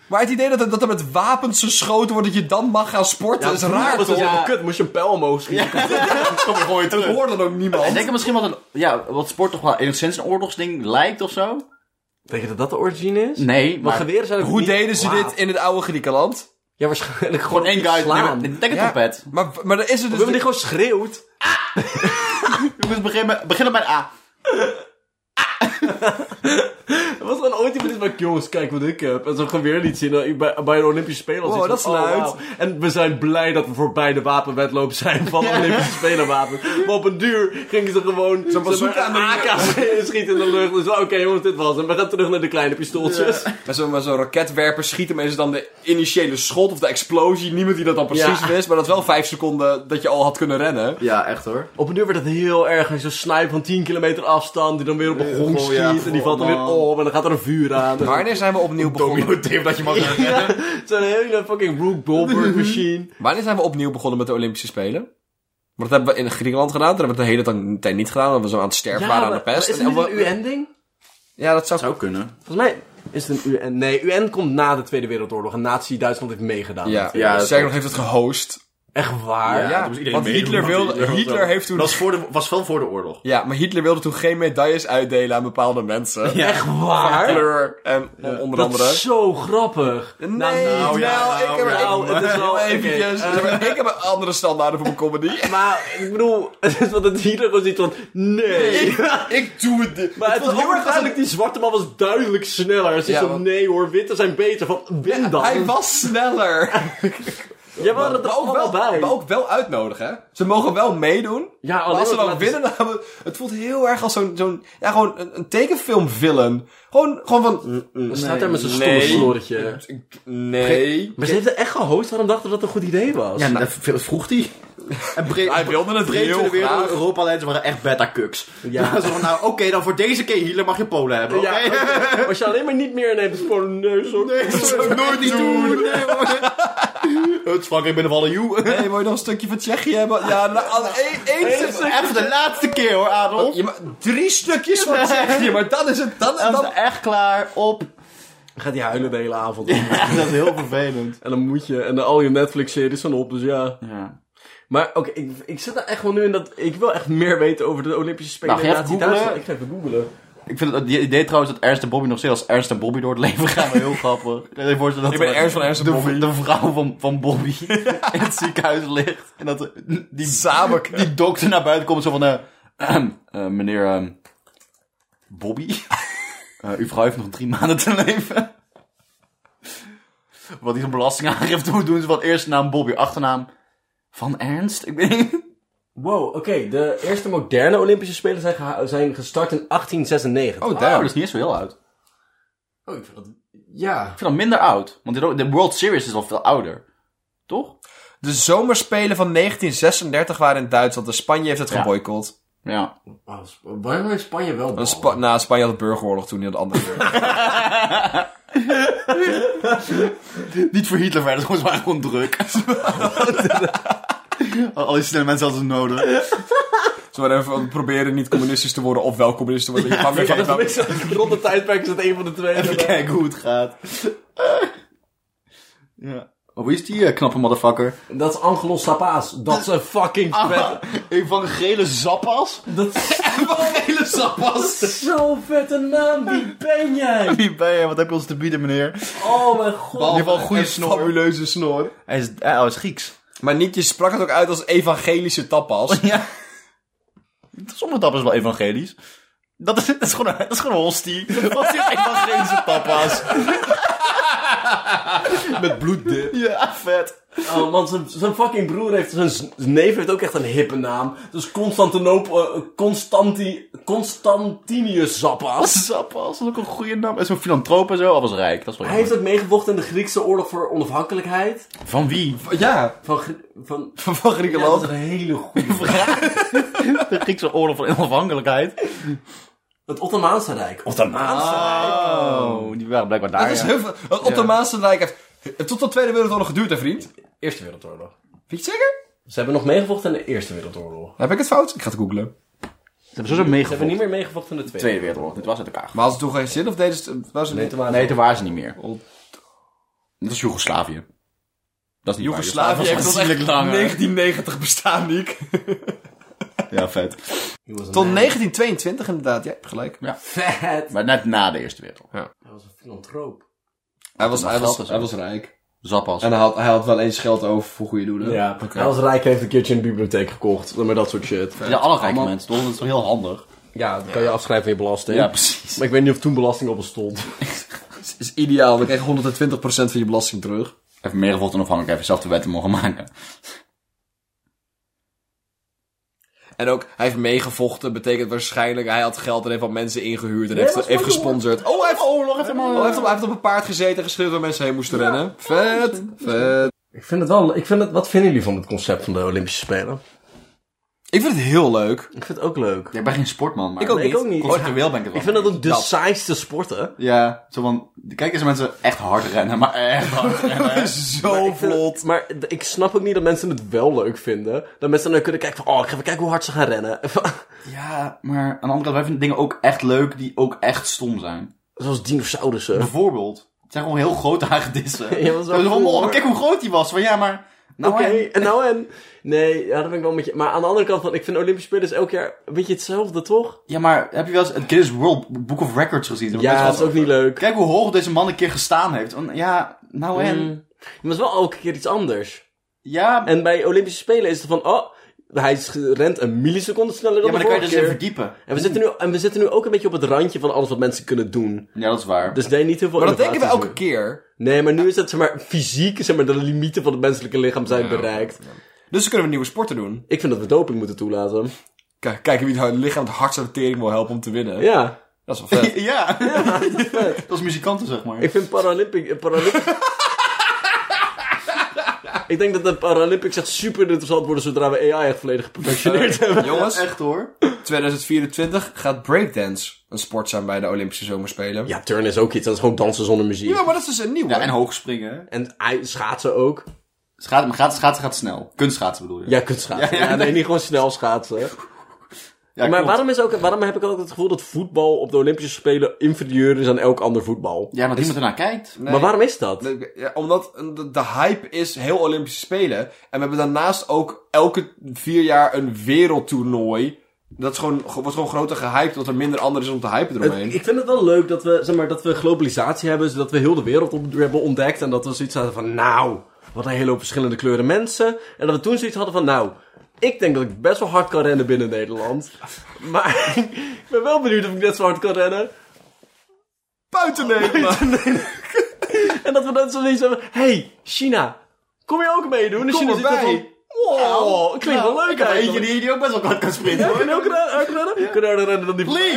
Speaker 4: Maar het idee dat, er- dat er met wapens geschoten wordt dat je dan mag gaan sporten, is raar
Speaker 1: Dat is
Speaker 4: toch?
Speaker 1: wel
Speaker 3: Ja.
Speaker 1: kut, moest je een pijl omhoog schieten.
Speaker 3: Kom maar gooi
Speaker 4: Dat
Speaker 3: terug.
Speaker 4: hoort dan ook
Speaker 3: Ik
Speaker 4: niemand.
Speaker 3: denk dat misschien wat, een, ja, wat sport toch wel enigszins een oorlogsding lijkt of zo.
Speaker 1: Denk je dat dat de origine is?
Speaker 3: Nee,
Speaker 1: Maar
Speaker 3: maar
Speaker 1: geweren zijn ook
Speaker 4: Hoe
Speaker 1: niet
Speaker 4: deden ze
Speaker 1: kwaad.
Speaker 4: dit in het oude Griekenland?
Speaker 1: Ja, waarschijnlijk
Speaker 3: gewoon één guy. Nee, maar
Speaker 1: slaan.
Speaker 3: een denk het
Speaker 4: Ja.
Speaker 3: trompet.
Speaker 4: Maar, maar dan is er
Speaker 1: We
Speaker 4: dus...
Speaker 1: hebben die gewoon schreeuwt.
Speaker 3: Jongens, begin met, beginnen bij een A.
Speaker 1: Was dan ooit iemand die zei, jongens, kijk wat ik heb. En zo'n geweer liet zien eh, bij, bij de Olympische Spelen. als
Speaker 4: Wow,
Speaker 1: iets
Speaker 4: dat is
Speaker 1: van, oh,
Speaker 4: luid.
Speaker 1: wauw. En we zijn blij dat we voorbij de wapenwedloop zijn van de Olympische Spelenwapen. Maar op een duur gingen ze gewoon zeg maar,
Speaker 4: bazooka
Speaker 1: een AK schieten in de lucht. Dus oké jongens, dit was hem. We gaan terug naar de kleine pistooltjes.
Speaker 4: Met zo'n met zo'n raketwerper schieten mensen dan de initiële schot of de explosie. Niemand die dat dan precies
Speaker 1: Ja.
Speaker 4: wist. Maar dat is wel vijf seconden dat je al had kunnen rennen.
Speaker 3: Ja, echt hoor.
Speaker 1: Op een duur werd het heel erg. Zo'n sniper van 10 kilometer afstand. Die dan weer op een gong
Speaker 3: goh,
Speaker 1: schiet.
Speaker 3: ja,
Speaker 1: en die valt dan
Speaker 3: goh,
Speaker 1: weer
Speaker 3: man.
Speaker 1: op. En dan gaat er een vuur aan.
Speaker 4: Wanneer zijn we opnieuw begonnen?
Speaker 3: tip dat je mag zeggen.
Speaker 1: (laughs) Ja, zo'n hele fucking Rook Goldberg machine.
Speaker 4: Wanneer zijn we opnieuw begonnen met de Olympische Spelen? Maar dat hebben we in Griekenland gedaan. Dat hebben we het de hele tijd niet gedaan. Dat we zo aan het sterven waren aan de pest.
Speaker 1: is
Speaker 4: En-
Speaker 1: het
Speaker 4: en
Speaker 1: niet
Speaker 4: we-
Speaker 1: een UN-ding?
Speaker 4: Ja, dat zou...
Speaker 3: Zou kunnen.
Speaker 1: Volgens mij is het een UN. Nee, UN komt na de Tweede Wereldoorlog. En Nazi-Duitsland heeft meegedaan.
Speaker 4: Ja,
Speaker 3: Ja, dat
Speaker 4: Sterker nog heeft het gehost.
Speaker 1: Echt waar.
Speaker 3: Ja,
Speaker 4: Ja,
Speaker 3: toen moest iedereen
Speaker 4: want
Speaker 3: meedoen,
Speaker 4: Hitler, wilde,
Speaker 3: want Hitler-
Speaker 4: Hitler heeft toen...
Speaker 3: Dat was, voor de, was wel voor de oorlog.
Speaker 4: Ja, maar Hitler wilde toen geen medailles uitdelen aan bepaalde mensen.
Speaker 3: Ja.
Speaker 1: Echt waar.
Speaker 4: Hitler en onder
Speaker 1: dat
Speaker 4: andere...
Speaker 1: is zo grappig.
Speaker 4: Nee,
Speaker 1: Nou,
Speaker 4: nou,
Speaker 3: nou, ja,
Speaker 4: ik heb
Speaker 3: nou,
Speaker 4: er-
Speaker 1: nou,
Speaker 4: ik-
Speaker 1: het is wel-
Speaker 4: heel eventjes.
Speaker 1: oké, eh,
Speaker 4: ik heb een andere standaarden voor mijn comedy.
Speaker 1: Maar ik bedoel, (laughs) het is wat het hier gewoon ziet van, (laughs) nee.
Speaker 4: ik doe het. niet.
Speaker 1: Maar het
Speaker 4: was
Speaker 1: was heel erg
Speaker 4: heel erg als
Speaker 1: duidelijk, die zwarte man was duidelijk sneller. Ze
Speaker 4: Ja,
Speaker 1: zei
Speaker 4: want-
Speaker 1: nee hoor, witte zijn beter. Van, win dan.
Speaker 4: Hij was sneller.
Speaker 1: Jij waren er
Speaker 4: Maar ook,
Speaker 1: allemaal
Speaker 4: wel,
Speaker 1: bij.
Speaker 4: maar ook wel uitnodigen. hè. Ze mogen wel meedoen.
Speaker 1: Ja,
Speaker 4: maar
Speaker 1: alleen
Speaker 4: als ze
Speaker 1: maar
Speaker 4: dan
Speaker 1: laten-
Speaker 4: winnen, dan hebben we- het voelt heel erg als zo'n, zo'n ja, gewoon een, een tekenfilmvillain. Gewoon, gewoon van...
Speaker 1: Dan staat hij met zijn stomme
Speaker 4: Nee.
Speaker 1: slorretje.
Speaker 4: Nee.
Speaker 1: Maar ze heeft het echt gehost, waarom dachten we dat het een goed idee was?
Speaker 3: Ja, dat v- vroeg hij. En breed,
Speaker 4: nou- Hij wilde het
Speaker 3: breed
Speaker 4: heel
Speaker 3: de wereld.
Speaker 4: graag.
Speaker 3: Europa-leiders waren echt beta-kuks. Ja. (laughs) Zo van, nou, oké, dan voor deze keer Hitler mag je Polen hebben. oké?
Speaker 1: Ja, (laughs) oké. als je alleen maar niet meer neemt, is het gewoon nee, zo.
Speaker 3: Nee, dat zou ik nooit niet doen. Nee, hoor. (laughs) Het is Frankrijk binnen van de you.
Speaker 4: Hey, wil je nog een stukje van Tsjechië hebben? Ja, nou, aan- één, één
Speaker 3: Dit is Even de laatste keer hoor, Adolf.
Speaker 4: Ja, maar drie stukjes van Tsjechië, maar dan is het... Dan,
Speaker 3: Dan is
Speaker 4: dan,
Speaker 3: het echt klaar op.
Speaker 1: Dan gaat hij huilen de hele avond. (laughs)
Speaker 3: Ja, dat is heel vervelend.
Speaker 1: En dan moet je. En dan al je Netflix-series zijn op, dus ja.
Speaker 3: Ja.
Speaker 1: Maar oké, ik, ik zit daar echt wel nu in dat... Ik wil echt meer weten over de Olympische Spelen
Speaker 3: Nou, ga je
Speaker 1: in
Speaker 3: even
Speaker 1: Nazi-Duitsland.
Speaker 3: googlen?
Speaker 1: Ik ga even googelen.
Speaker 3: Ik vind het, het idee trouwens dat Ernst en Bobby nog steeds als Ernst en Bobby door het leven
Speaker 4: (laughs)
Speaker 3: gaan wel heel grappig. Ik, kan je voorstellen dat
Speaker 4: Ik ben
Speaker 3: er-
Speaker 4: Ernst van Ernst en
Speaker 3: de-
Speaker 4: Bobby.
Speaker 3: De vrouw van,
Speaker 4: (laughs)
Speaker 3: van Bobby in het ziekenhuis ligt. En dat de- die,
Speaker 4: Samen.
Speaker 3: die dokter naar buiten komt zo van... eh eh, (clears throat) meneer ehm,
Speaker 4: (laughs)
Speaker 3: Bobby, Eh uw vrouw heeft nog drie maanden te leven. Wat die zo'n belastingaangifte moet doen, is wat eerste naam Bobby, achternaam van Ernst. Ik weet niet.
Speaker 1: Wow, oké. De eerste moderne Olympische Spelen zijn, geha- zijn gestart in 1896.
Speaker 4: Oh,
Speaker 3: Oh,
Speaker 4: daar.
Speaker 3: dat is niet eens zo heel oud. Ik
Speaker 1: Oh, ik vind dat... Ja.
Speaker 3: vind dat minder oud. Want de- de World Series is al veel ouder. Toch?
Speaker 4: De zomerspelen van 1936 waren in Duitsland. En Spanje heeft het
Speaker 3: Ja.
Speaker 4: geboycott.
Speaker 3: Ja.
Speaker 1: Oh, Sp- Waarom heeft Spanje wel
Speaker 4: Want
Speaker 1: ballen?
Speaker 4: Spa- nou, Spanje had de burgeroorlog toen in de andere wereld.
Speaker 3: (laughs) Niet voor Hitler verder, gewoon zwaar gewoon (laughs) druk. Al al die snelle mensen hadden ze nodig.
Speaker 4: Ze waren even proberen niet communistisch te worden of wel communistisch te worden. Je kan weer
Speaker 1: Ja,
Speaker 4: geen-
Speaker 1: dat is rond het tijdperk is het een van de twee.
Speaker 3: Even kijken hoe het gaat. ja. Oh, wie is die eh, knappe motherfucker?
Speaker 1: Dat is Angelos Sapaas. Dat is een fucking vet. (laughs)
Speaker 3: Een van de gele zappas?
Speaker 1: Dat is
Speaker 3: Gele zappas?
Speaker 1: zo'n vette naam. Wie ben (laughs) jij?
Speaker 3: (laughs) Wie ben je? Wat heb je ons te bieden, meneer?
Speaker 1: Oh mijn god.
Speaker 3: ieder geval een goede snor.
Speaker 4: Fabuleuze snor.
Speaker 3: Hij is, eh, oh, hij is Grieks.
Speaker 4: Maar niet, je sprak het ook uit als evangelische
Speaker 3: (laughs)
Speaker 4: tapas.
Speaker 3: Ja. Sommige tapas wel evangelisch. Dat is, (laughs) dat is gewoon een, dat is gewoon een hostie. Hostie is (laughs) evangelische tapas.
Speaker 4: Met bloeddip.
Speaker 3: Ja, vet.
Speaker 1: Oh, want zijn- zijn fucking broer heeft, zijn z- neef heeft ook echt een hippe naam. Dus Constantinopel, eh, Constanti, Constantinius Zappas.
Speaker 3: Zappas, dat is ook een goede naam. Hij is een filantroop en zo, al was rijk. Dat is wel
Speaker 1: Hij heeft
Speaker 3: jammer.
Speaker 1: ook meegevochten in de Griekse oorlog voor onafhankelijkheid.
Speaker 4: (laughs)
Speaker 3: Van wie?
Speaker 4: Ja,
Speaker 1: Van, Grie- van,
Speaker 4: van, van
Speaker 1: ja, dat
Speaker 4: Griekenland.
Speaker 1: is een hele (laughs) goede.
Speaker 3: De Griekse oorlog van onafhankelijkheid.
Speaker 1: Het Ottomaanse Rijk. Ah. Ottomaanse Rijk?
Speaker 3: Oh, die waren blijkbaar daar.
Speaker 4: Het is
Speaker 3: ja.
Speaker 4: heel veel. Het Ottomaanse Rijk heeft eh, tot de Tweede Wereldoorlog geduurd, hè, vriend?
Speaker 1: Eerste Wereldoorlog.
Speaker 4: Weet je het zeker?
Speaker 1: Ze hebben nog meegevochten in de Eerste Wereldoorlog.
Speaker 4: Heb ik het fout? Ik ga het googlen.
Speaker 3: Ze hebben zo
Speaker 1: Ze hebben niet meer meegevochten in de Tweede.
Speaker 3: Tweede Wereldoorlog, dit was uit elkaar.
Speaker 4: Maar had het toen geen zin of deden ze het... Was het
Speaker 1: Nee,
Speaker 4: niet?
Speaker 1: toen waren ze-
Speaker 3: Nee, toen waren ze niet meer.
Speaker 4: Old-
Speaker 3: Dat is Joegoslavië. Dat is niet waar.
Speaker 4: Joegoslavië heeft tot echt
Speaker 3: aanzienlijk langer.
Speaker 4: 1990 bestaan, Nick.
Speaker 3: (laughs) Ja, vet.
Speaker 1: He was a
Speaker 4: Tot
Speaker 1: man.
Speaker 4: 1922 inderdaad, jij hebt gelijk.
Speaker 1: Vet.
Speaker 3: Maar net na de Eerste Wereldoorlog.
Speaker 1: Hij was een filantroop.
Speaker 4: Hij was, hij
Speaker 3: geld
Speaker 4: was,
Speaker 3: is
Speaker 4: hij
Speaker 3: ook.
Speaker 4: was rijk.
Speaker 3: Zappas.
Speaker 4: En hij had, hij had wel eens geld over voor goede doelen.
Speaker 1: Ja, hij was rijk heeft een keertje een bibliotheek gekocht. Maar dat soort shit.
Speaker 3: Ja, alle rijke mensen, toch? Dat is toch heel handig?
Speaker 1: Ja, dat kan je afschrijven van je belasting.
Speaker 3: precies.
Speaker 1: Maar ik weet niet of toen belasting op bestond.
Speaker 4: Is, is ideaal, dan krijg je 120% van je belasting terug.
Speaker 3: Even meer gevolgd onafhankelijk, even zelf de wetten mogen maken.
Speaker 4: En ook, hij heeft meegevochten, betekent waarschijnlijk, hij had geld en heeft wat mensen ingehuurd en
Speaker 1: Nee,
Speaker 4: heeft,
Speaker 1: dat is
Speaker 4: heeft
Speaker 1: mooi,
Speaker 4: gesponsord. Oh, hij heeft, oh,
Speaker 3: Oorlog heeft helemaal...
Speaker 4: hij heeft, op, hij heeft op een paard gezeten en geschreeuwd waar mensen heen moesten rennen. Vet, vet.
Speaker 1: Ik vind het wel... Ik vind het, wat vinden jullie van het concept van de Olympische Spelen?
Speaker 4: Ik vind het heel leuk.
Speaker 1: Ik vind het ook leuk.
Speaker 3: Ik ben geen sportman, maar...
Speaker 4: Ik ook
Speaker 1: Nee, ik ook niet.
Speaker 3: Conceptueel ben ik het wel
Speaker 1: Ik vind dat
Speaker 3: mee
Speaker 1: ook de saaiste sporten.
Speaker 3: eens. Ja, zo van... Kijk eens mensen echt hard rennen, maar echt
Speaker 1: (laughs)
Speaker 3: hard rennen.
Speaker 4: Zo vlot.
Speaker 1: Maar d- ik snap ook niet dat mensen het wel leuk vinden. Dat mensen dan kunnen kijken van... Oh, ik ga even kijken hoe hard ze gaan rennen. (laughs)
Speaker 3: Ja, maar aan de andere kant, wij vinden dingen ook echt leuk die ook echt stom zijn.
Speaker 1: Zoals dinosaurussen.
Speaker 3: Bijvoorbeeld, het zijn gewoon heel grote hagedissen.
Speaker 1: (laughs) Ja, dat is wel
Speaker 3: Zo van,
Speaker 1: cool,
Speaker 3: oh,
Speaker 1: hoor.
Speaker 3: kijk hoe groot die was. Van ja, maar... Nou,
Speaker 1: Oké, en nou en? Nee, ja, dat ben ik wel met je... Maar aan de andere kant, van, ik vind de Olympische Spelen is elk jaar een beetje hetzelfde, toch?
Speaker 3: Ja, maar heb je wel eens het Guinness World Book of Records gezien? Dat
Speaker 1: Ja,
Speaker 3: mensen
Speaker 1: dat is
Speaker 3: wel-
Speaker 1: ook niet leuk.
Speaker 3: Kijk hoe hoog deze man een keer gestaan heeft. Want Ja, nou en...
Speaker 1: Mm. Maar het is wel elke keer iets anders.
Speaker 3: Ja,
Speaker 1: En bij Olympische Spelen is het van, oh, hij is ge- rent een milliseconde sneller dan
Speaker 3: ja, maar
Speaker 1: de
Speaker 3: dan kan je
Speaker 1: vorige
Speaker 3: dus in
Speaker 1: keer.
Speaker 3: verdiepen.
Speaker 1: En we, zitten nu, en we zitten nu ook een beetje op het randje van alles wat mensen kunnen doen.
Speaker 3: Ja, dat is waar.
Speaker 1: Dus nee, niet heel veel
Speaker 4: Maar dat denken we
Speaker 1: innovaties
Speaker 4: elke
Speaker 1: meer.
Speaker 4: keer.
Speaker 1: Nee, maar nu is het zeg maar, fysiek, zeg maar, de limieten van het menselijke lichaam zijn bereikt.
Speaker 4: Dus dan kunnen we nieuwe sporten doen.
Speaker 1: Ik vind dat we doping moeten toelaten.
Speaker 4: Kijk, kijken wie nou het lichaam het hardste tering wil helpen om te winnen.
Speaker 1: Ja,
Speaker 4: Dat
Speaker 1: (laughs)
Speaker 4: is wel vet.
Speaker 3: (laughs) Ja, (laughs) dat is muzikanten, zeg maar.
Speaker 1: ik vind Paralympic... eh, Paralympic... (laughs) ik denk dat de Paralympics echt super interessant worden zodra we AI echt volledig geprofessioneerd hebben.
Speaker 4: Eh, jongens,
Speaker 3: Echt hoor.
Speaker 4: 2024 gaat breakdance een sport zijn bij de Olympische Zomerspelen.
Speaker 1: Ja, turn is ook iets, dat is gewoon dansen zonder muziek.
Speaker 4: Ja, maar dat is dus een nieuwe.
Speaker 3: Ja, en hoogspringen.
Speaker 1: En ei- schaatsen ook.
Speaker 3: Schaatsen, maar gaat, schaatsen gaat snel. Kunstschaatsen bedoel je.
Speaker 1: Ja, kunt schaatsen. Ja,
Speaker 3: Ja, ja.
Speaker 1: nee, niet gewoon snel schaatsen.
Speaker 3: Ja,
Speaker 1: maar
Speaker 3: klopt.
Speaker 1: waarom, is ook, waarom heb ik ook het gevoel dat voetbal op de Olympische Spelen inferieur is aan elk ander voetbal?
Speaker 3: Ja, maar niemand ernaar kijkt.
Speaker 4: Nee.
Speaker 1: Maar waarom is dat?
Speaker 4: Ja, omdat de, de hype is heel Olympische Spelen. En we hebben daarnaast ook elke vier jaar een wereldtoernooi. Dat is gewoon, wordt gewoon groter gehyped, omdat er minder ander is om te hypen
Speaker 1: Het-
Speaker 4: eromheen.
Speaker 1: ik vind het wel leuk dat we, zeg maar, dat we globalisatie hebben, zodat we heel de wereld op, hebben ontdekt. En dat we zoiets hadden van, nou, wat een hele hoop verschillende kleuren mensen. En dat we toen zoiets hadden van, nou, ik denk dat ik best wel hard kan rennen binnen Nederland. Maar (laughs) ik ben wel benieuwd of ik net zo hard kan rennen.
Speaker 4: Buiten Nederland! (laughs)
Speaker 1: En dat we dan zoiets hebben, hey, China, kom je ook meedoen? En
Speaker 4: Kom
Speaker 1: China zit er
Speaker 4: erbij.
Speaker 1: van, Oh, klinkt wel leuk
Speaker 3: Nou, Ik heb er eentje
Speaker 1: eigenlijk.
Speaker 3: die, die ook best wel kort kan
Speaker 1: Ja,
Speaker 3: sprinten. hoor.
Speaker 1: kun je ook rennen? Ook rennen? Kun je harder rennen dan die...
Speaker 3: Lee!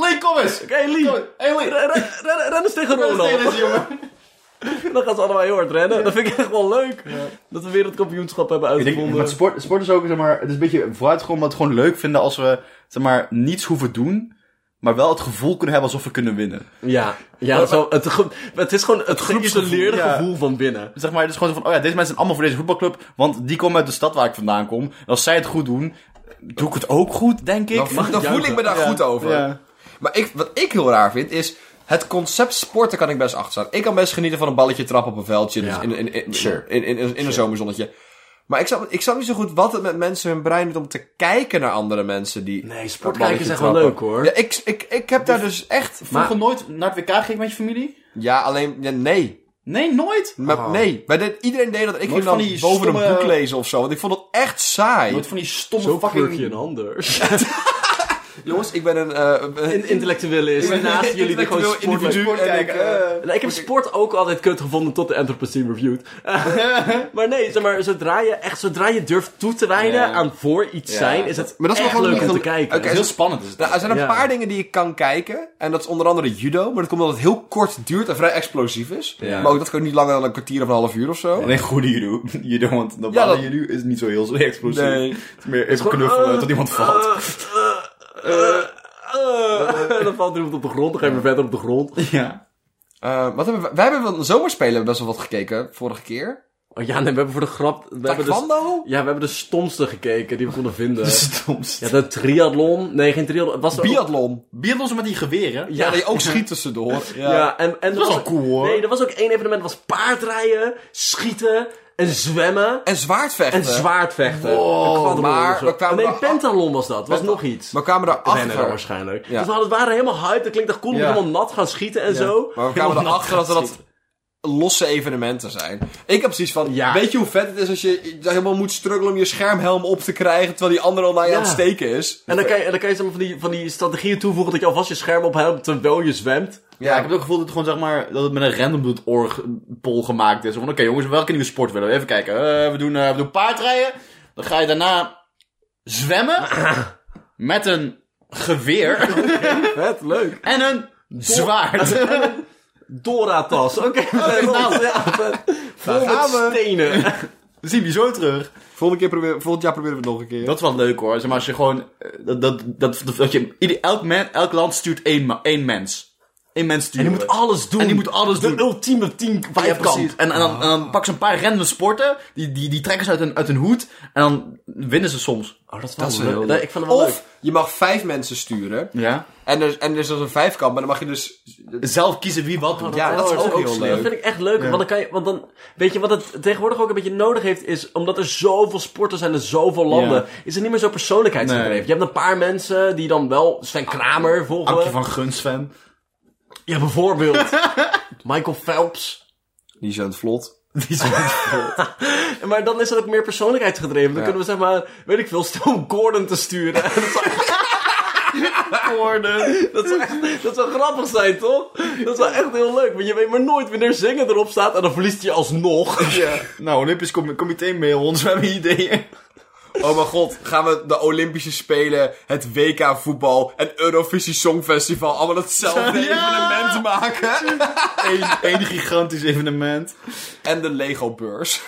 Speaker 3: Lee, kom eens!
Speaker 1: Hey Lee,
Speaker 3: Kom, hey, Lee.
Speaker 1: Ren- ren- ren- ren eens tegen
Speaker 3: Dat is tegen
Speaker 1: Ronald.
Speaker 3: deze jongen.
Speaker 1: Dan gaan ze allemaal heel hard rennen. Dat vind ik echt wel leuk. Dat we weer het kampioenschap hebben
Speaker 3: Ik denk,
Speaker 1: uitgevonden.
Speaker 3: maar sport, sport is ook, zeg maar, het is een beetje vooruitgekomen dat we het gewoon leuk vinden als we, zeg maar, niets hoeven doen, maar wel het gevoel kunnen hebben alsof we kunnen winnen.
Speaker 1: Ja, ja zo, het, ge- het is gewoon het geïsoleerde
Speaker 3: ja.
Speaker 1: gevoel van binnen.
Speaker 3: Zeg maar, het is gewoon zo van, oh ja, deze mensen zijn allemaal voor deze voetbalclub, want die komen uit de stad waar ik vandaan kom. En als zij het goed doen, doe ik het ook goed, denk ik.
Speaker 4: Dan,
Speaker 1: mag
Speaker 4: dan voel
Speaker 1: juichen.
Speaker 4: ik me daar
Speaker 3: Ja,
Speaker 4: goed over.
Speaker 3: ja.
Speaker 4: Maar ik, wat ik heel raar vind is. Het concept sporten kan ik best achterstaan. Ik kan best genieten van een balletje trappen op een veldje. dus
Speaker 1: Ja.
Speaker 4: in, in, in,
Speaker 3: Sure.
Speaker 4: in, in, in een zomerzonnetje. Maar ik snap, ik snap niet zo goed wat het met mensen hun brein doet om te kijken naar andere mensen die.
Speaker 1: Nee, sport
Speaker 4: dat balletje
Speaker 1: kijken is echt wel
Speaker 4: trappen.
Speaker 1: leuk, hoor.
Speaker 4: Ja, ik, ik, ik heb daar dus echt.
Speaker 3: Vroeger nooit naar het WK ging met je familie?
Speaker 4: Ja, alleen. ja, nee.
Speaker 3: Nee, nooit.
Speaker 4: Maar, Nee. Maar dit- iedereen deed dat. Ik ging
Speaker 3: van
Speaker 4: dan boven
Speaker 3: die
Speaker 4: een
Speaker 3: stomme-
Speaker 4: boek lezen of zo. Want ik vond het echt saai.
Speaker 3: Nooit van die stomme
Speaker 1: Zo fucking... je
Speaker 3: fucking...
Speaker 1: een ander. (laughs)
Speaker 4: Jongens, ik ben een. eh,
Speaker 1: Een intellectuele is naast jullie die gewoon
Speaker 4: intellectueel
Speaker 1: sport
Speaker 4: individu.
Speaker 3: Sport
Speaker 4: en
Speaker 3: kijken,
Speaker 4: ik, eh,
Speaker 1: Nou, ik heb sport ook altijd kut gevonden tot de Anthropocene Reviewed. maar nee, zeg maar, zodra je, echt, zodra je durft toe te wijden
Speaker 3: Ja.
Speaker 1: aan voor iets zijn, is het
Speaker 4: Maar dat is
Speaker 1: echt
Speaker 4: wel gewoon
Speaker 1: leuk om
Speaker 4: niet
Speaker 1: te
Speaker 4: gel-
Speaker 1: kijken.
Speaker 4: Oké,
Speaker 3: Heel spannend is het.
Speaker 4: Nou, er zijn een
Speaker 1: Ja.
Speaker 4: paar dingen die ik kan kijken. En dat is onder andere judo. Maar dat komt omdat het heel kort duurt en vrij explosief is.
Speaker 1: Ja.
Speaker 4: Maar ook dat kan niet langer dan een kwartier of een half uur of zo.
Speaker 3: Alleen goede judo, (laughs) judo want dat
Speaker 4: eh, Ja,
Speaker 3: ja,
Speaker 4: dat-
Speaker 3: judo is niet zo heel zo explosief.
Speaker 4: Nee.
Speaker 3: Het is meer even
Speaker 1: gewoon,
Speaker 3: knuffelen
Speaker 1: eh,
Speaker 3: tot iemand valt. (laughs)
Speaker 1: Eh, eh, (laughs) eh, dan valt iemand op de grond, dan ga je weer verder op de grond.
Speaker 3: ja.
Speaker 4: Eh, wat hebben we, wij hebben wel zomerspelen hebben best wel wat gekeken vorige keer.
Speaker 1: Oh ja, nee, we hebben voor de grap... We hebben dus,
Speaker 4: Taekwondo?
Speaker 1: ja, we hebben de stomste gekeken die we konden vinden.
Speaker 3: (laughs) Dat is het domst.
Speaker 1: Ja, de triathlon. Nee, geen triathlon. Het was er ook-
Speaker 4: Biathlon.
Speaker 3: Biathlons met die geweren.
Speaker 4: Ja, die ook schiet tussendoor.
Speaker 1: Ja, en, en
Speaker 3: Dat is
Speaker 1: er
Speaker 3: wel cool hoor.
Speaker 1: Nee, er was ook één evenement, was paardrijden, schieten en zwemmen.
Speaker 4: En zwaardvechten.
Speaker 1: En zwaardvechten.
Speaker 4: Wow,
Speaker 1: Een quadrillon
Speaker 4: maar
Speaker 1: of zo.
Speaker 4: we kwamen
Speaker 1: nee,
Speaker 4: wel-
Speaker 1: pentalon was dat. was nog iets.
Speaker 4: We kwamen
Speaker 1: Rennen dan
Speaker 4: erachter.
Speaker 1: waarschijnlijk.
Speaker 4: Ja.
Speaker 1: Dus we hadden, waren helemaal hyped. Dat klinkt echt cool om
Speaker 3: Ja.
Speaker 1: helemaal nat gaan schieten en zo.
Speaker 4: Maar we kwamen erachter dat dat losse evenementen zijn. Ik heb precies van,
Speaker 1: Ja.
Speaker 4: weet je hoe vet het is als je helemaal moet struggelen om je schermhelm op te krijgen... terwijl die andere al naar je
Speaker 1: Ja.
Speaker 4: aan het steken is?
Speaker 1: En dan kan je, en dan kan je zeg maar, van, die, van die strategieën toevoegen dat je alvast je scherm ophoudt terwijl je zwemt.
Speaker 3: Ja, ik heb het ook gevoel dat het gewoon zeg maar dat het met een random.org poll gemaakt is. Van oké jongens, welke nieuwe sport willen we? Even kijken. Eh, we, doen, eh, we doen paardrijden. Dan ga je daarna zwemmen met een geweer
Speaker 1: Vet, leuk.
Speaker 3: en een zwaard.
Speaker 4: (laughs)
Speaker 1: Dora-tas. Oké,
Speaker 4: Oh,
Speaker 1: we zijn
Speaker 3: nou.
Speaker 1: rond. Ja, vet. Vol met
Speaker 4: gaan we.
Speaker 1: stenen.
Speaker 3: Dan zie je zo terug.
Speaker 4: Volgende keer proberen, volgend jaar proberen we het nog een keer.
Speaker 3: Dat is wel leuk hoor. Zeg maar als je gewoon eh, dat, dat, dat, dat, dat je ieder- elk, men, elk land stuurt één, ma- één mens. Eén mens stuurt.
Speaker 1: En die moet alles doen.
Speaker 3: En die moet alles
Speaker 1: de
Speaker 3: doen.
Speaker 1: ultieme team
Speaker 3: Ja,
Speaker 1: vijfkamp.
Speaker 3: precies. En, en dan, en dan pakken ze een paar random sporten, die, die, die trekken ze uit hun, uit hun hoed, en dan winnen ze soms.
Speaker 1: Oh, dat is
Speaker 4: is
Speaker 1: wel
Speaker 4: wel
Speaker 1: leuk.
Speaker 4: heel
Speaker 1: Nee, ik vond hem wel leuk.
Speaker 4: Of je mag vijf mensen sturen.
Speaker 3: Ja.
Speaker 4: En er, en er is dus een vijfkamp, maar dan mag je dus...
Speaker 3: Zelf kiezen wie wat doet.
Speaker 4: Ja, dat is
Speaker 1: Oh,
Speaker 4: ook heel
Speaker 1: slim.
Speaker 4: leuk.
Speaker 1: Dat vind ik echt leuk. Want dan kan je, want dan, weet je, wat het tegenwoordig ook een beetje nodig heeft, is omdat er zoveel sporters zijn en zoveel landen,
Speaker 3: Ja.
Speaker 1: is er niet meer zo'n persoonlijkheidsgedreven.
Speaker 3: Nee.
Speaker 1: Je hebt een paar mensen die dan wel Sven Kramer volgen.
Speaker 3: Akje van Gunsven.
Speaker 1: Ja, bijvoorbeeld. (laughs) Michael Phelps.
Speaker 4: Die zijn het vlot.
Speaker 3: (laughs) Die is
Speaker 1: Maar dan is dat ook meer persoonlijkheidsgedreven. Dan kunnen we zeg maar, weet ik veel, Stone Gordon te sturen. (laughs) En dat zou echt,
Speaker 3: geworden.
Speaker 1: dat zou echt- dat zou grappig zijn, toch? Dat zou echt heel leuk. Want je weet maar nooit wanneer zingen erop staat en dan verliest je alsnog.
Speaker 3: Ja. Nou, Olympisch Com- Comité mail ons, we hebben ideeën.
Speaker 4: Oh mijn god, gaan we de Olympische Spelen, het WK voetbal en Eurovisie Songfestival allemaal hetzelfde
Speaker 3: Ja!
Speaker 4: evenement maken?
Speaker 3: Eén, één gigantisch evenement.
Speaker 4: En de Lego beurs.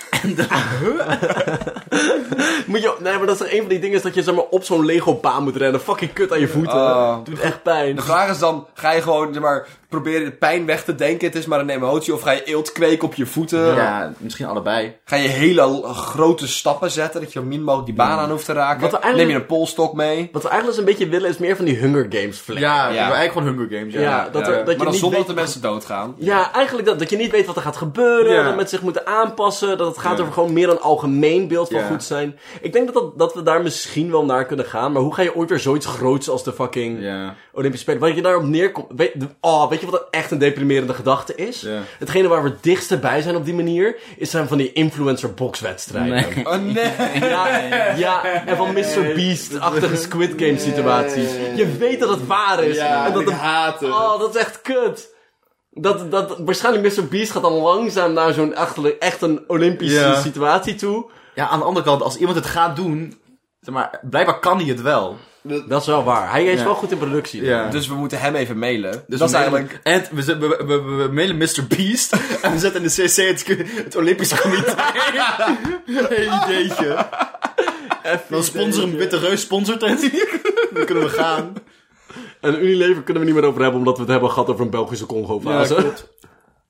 Speaker 1: Moet je, nee, maar dat is toch een van die dingen is dat je zeg maar, op zo'n Lego-baan moet rennen. Fucking kut aan je voeten.
Speaker 4: Ah.
Speaker 1: Doet echt pijn.
Speaker 4: De vraag is dan, ga je gewoon zeg maar, proberen de pijn weg te denken, het is maar een emotie, of ga je eelt kweken op je voeten?
Speaker 3: Ja, misschien allebei.
Speaker 4: Ga je hele l- grote stappen zetten, dat je zo min mogelijk die baan aan hoeft te raken?
Speaker 1: Wat er eigenlijk-
Speaker 4: Neem je een polstok mee?
Speaker 1: Wat we eigenlijk dus een beetje willen is meer van die Hunger Games flair.
Speaker 3: Ja, we
Speaker 4: Ja.
Speaker 3: hebben eigenlijk gewoon Hunger Games, ja.
Speaker 1: Ja, dat er- dat je
Speaker 4: maar dan
Speaker 1: niet
Speaker 4: zonder
Speaker 1: weet-
Speaker 4: dat de mensen doodgaan.
Speaker 1: Ja, eigenlijk dat. Dat je niet weet wat er gaat gebeuren.
Speaker 3: Ja.
Speaker 1: Dat mensen zich moeten aanpassen. Dat het gaat over gewoon meer een algemeen beeld van
Speaker 3: Ja.
Speaker 1: goed zijn. Ik denk dat, dat, dat we daar misschien wel naar kunnen gaan. Maar hoe ga je ooit weer zoiets groots als de fucking
Speaker 3: Ja.
Speaker 1: Olympische Spelen... Waar je daarop neerkomt... Weet, oh, weet je wat echt een deprimerende gedachte is?
Speaker 3: Ja.
Speaker 1: Hetgene waar we het dichtst bij zijn op die manier... is zijn van die influencer boxwedstrijden.
Speaker 4: Oh nee!
Speaker 1: Ja, ja, en van Mr. Beast-achtige Squid Game situaties. Je weet dat het waar is. en dat
Speaker 3: ik
Speaker 1: de-
Speaker 3: haat het.
Speaker 1: Oh, dat is echt kut. Dat, dat, waarschijnlijk Mr. Beast gaat dan langzaam naar zo'n achter- echt een Olympische
Speaker 3: Ja.
Speaker 1: situatie toe.
Speaker 3: Ja, aan de andere kant, als iemand het gaat doen... Zeg maar, blijkbaar kan hij het wel.
Speaker 1: Dat is wel waar. Hij is
Speaker 3: Ja.
Speaker 1: wel goed in productie.
Speaker 3: Ja.
Speaker 4: Dus we moeten hem even mailen. Dus
Speaker 3: Dus
Speaker 4: dat is
Speaker 3: we mailen-
Speaker 4: eigenlijk...
Speaker 3: En het- we, zet- we, we, we- we mailen Mr. Beast. (laughs) En we zetten in de CC het, het Olympisch (laughs) Comité. Heel ideetje. Dan sponsor een witte reus sponsort het. (laughs) Dan kunnen we gaan.
Speaker 1: En Unilever kunnen we niet meer over hebben, omdat we het hebben gehad over een Belgische Congo-fase.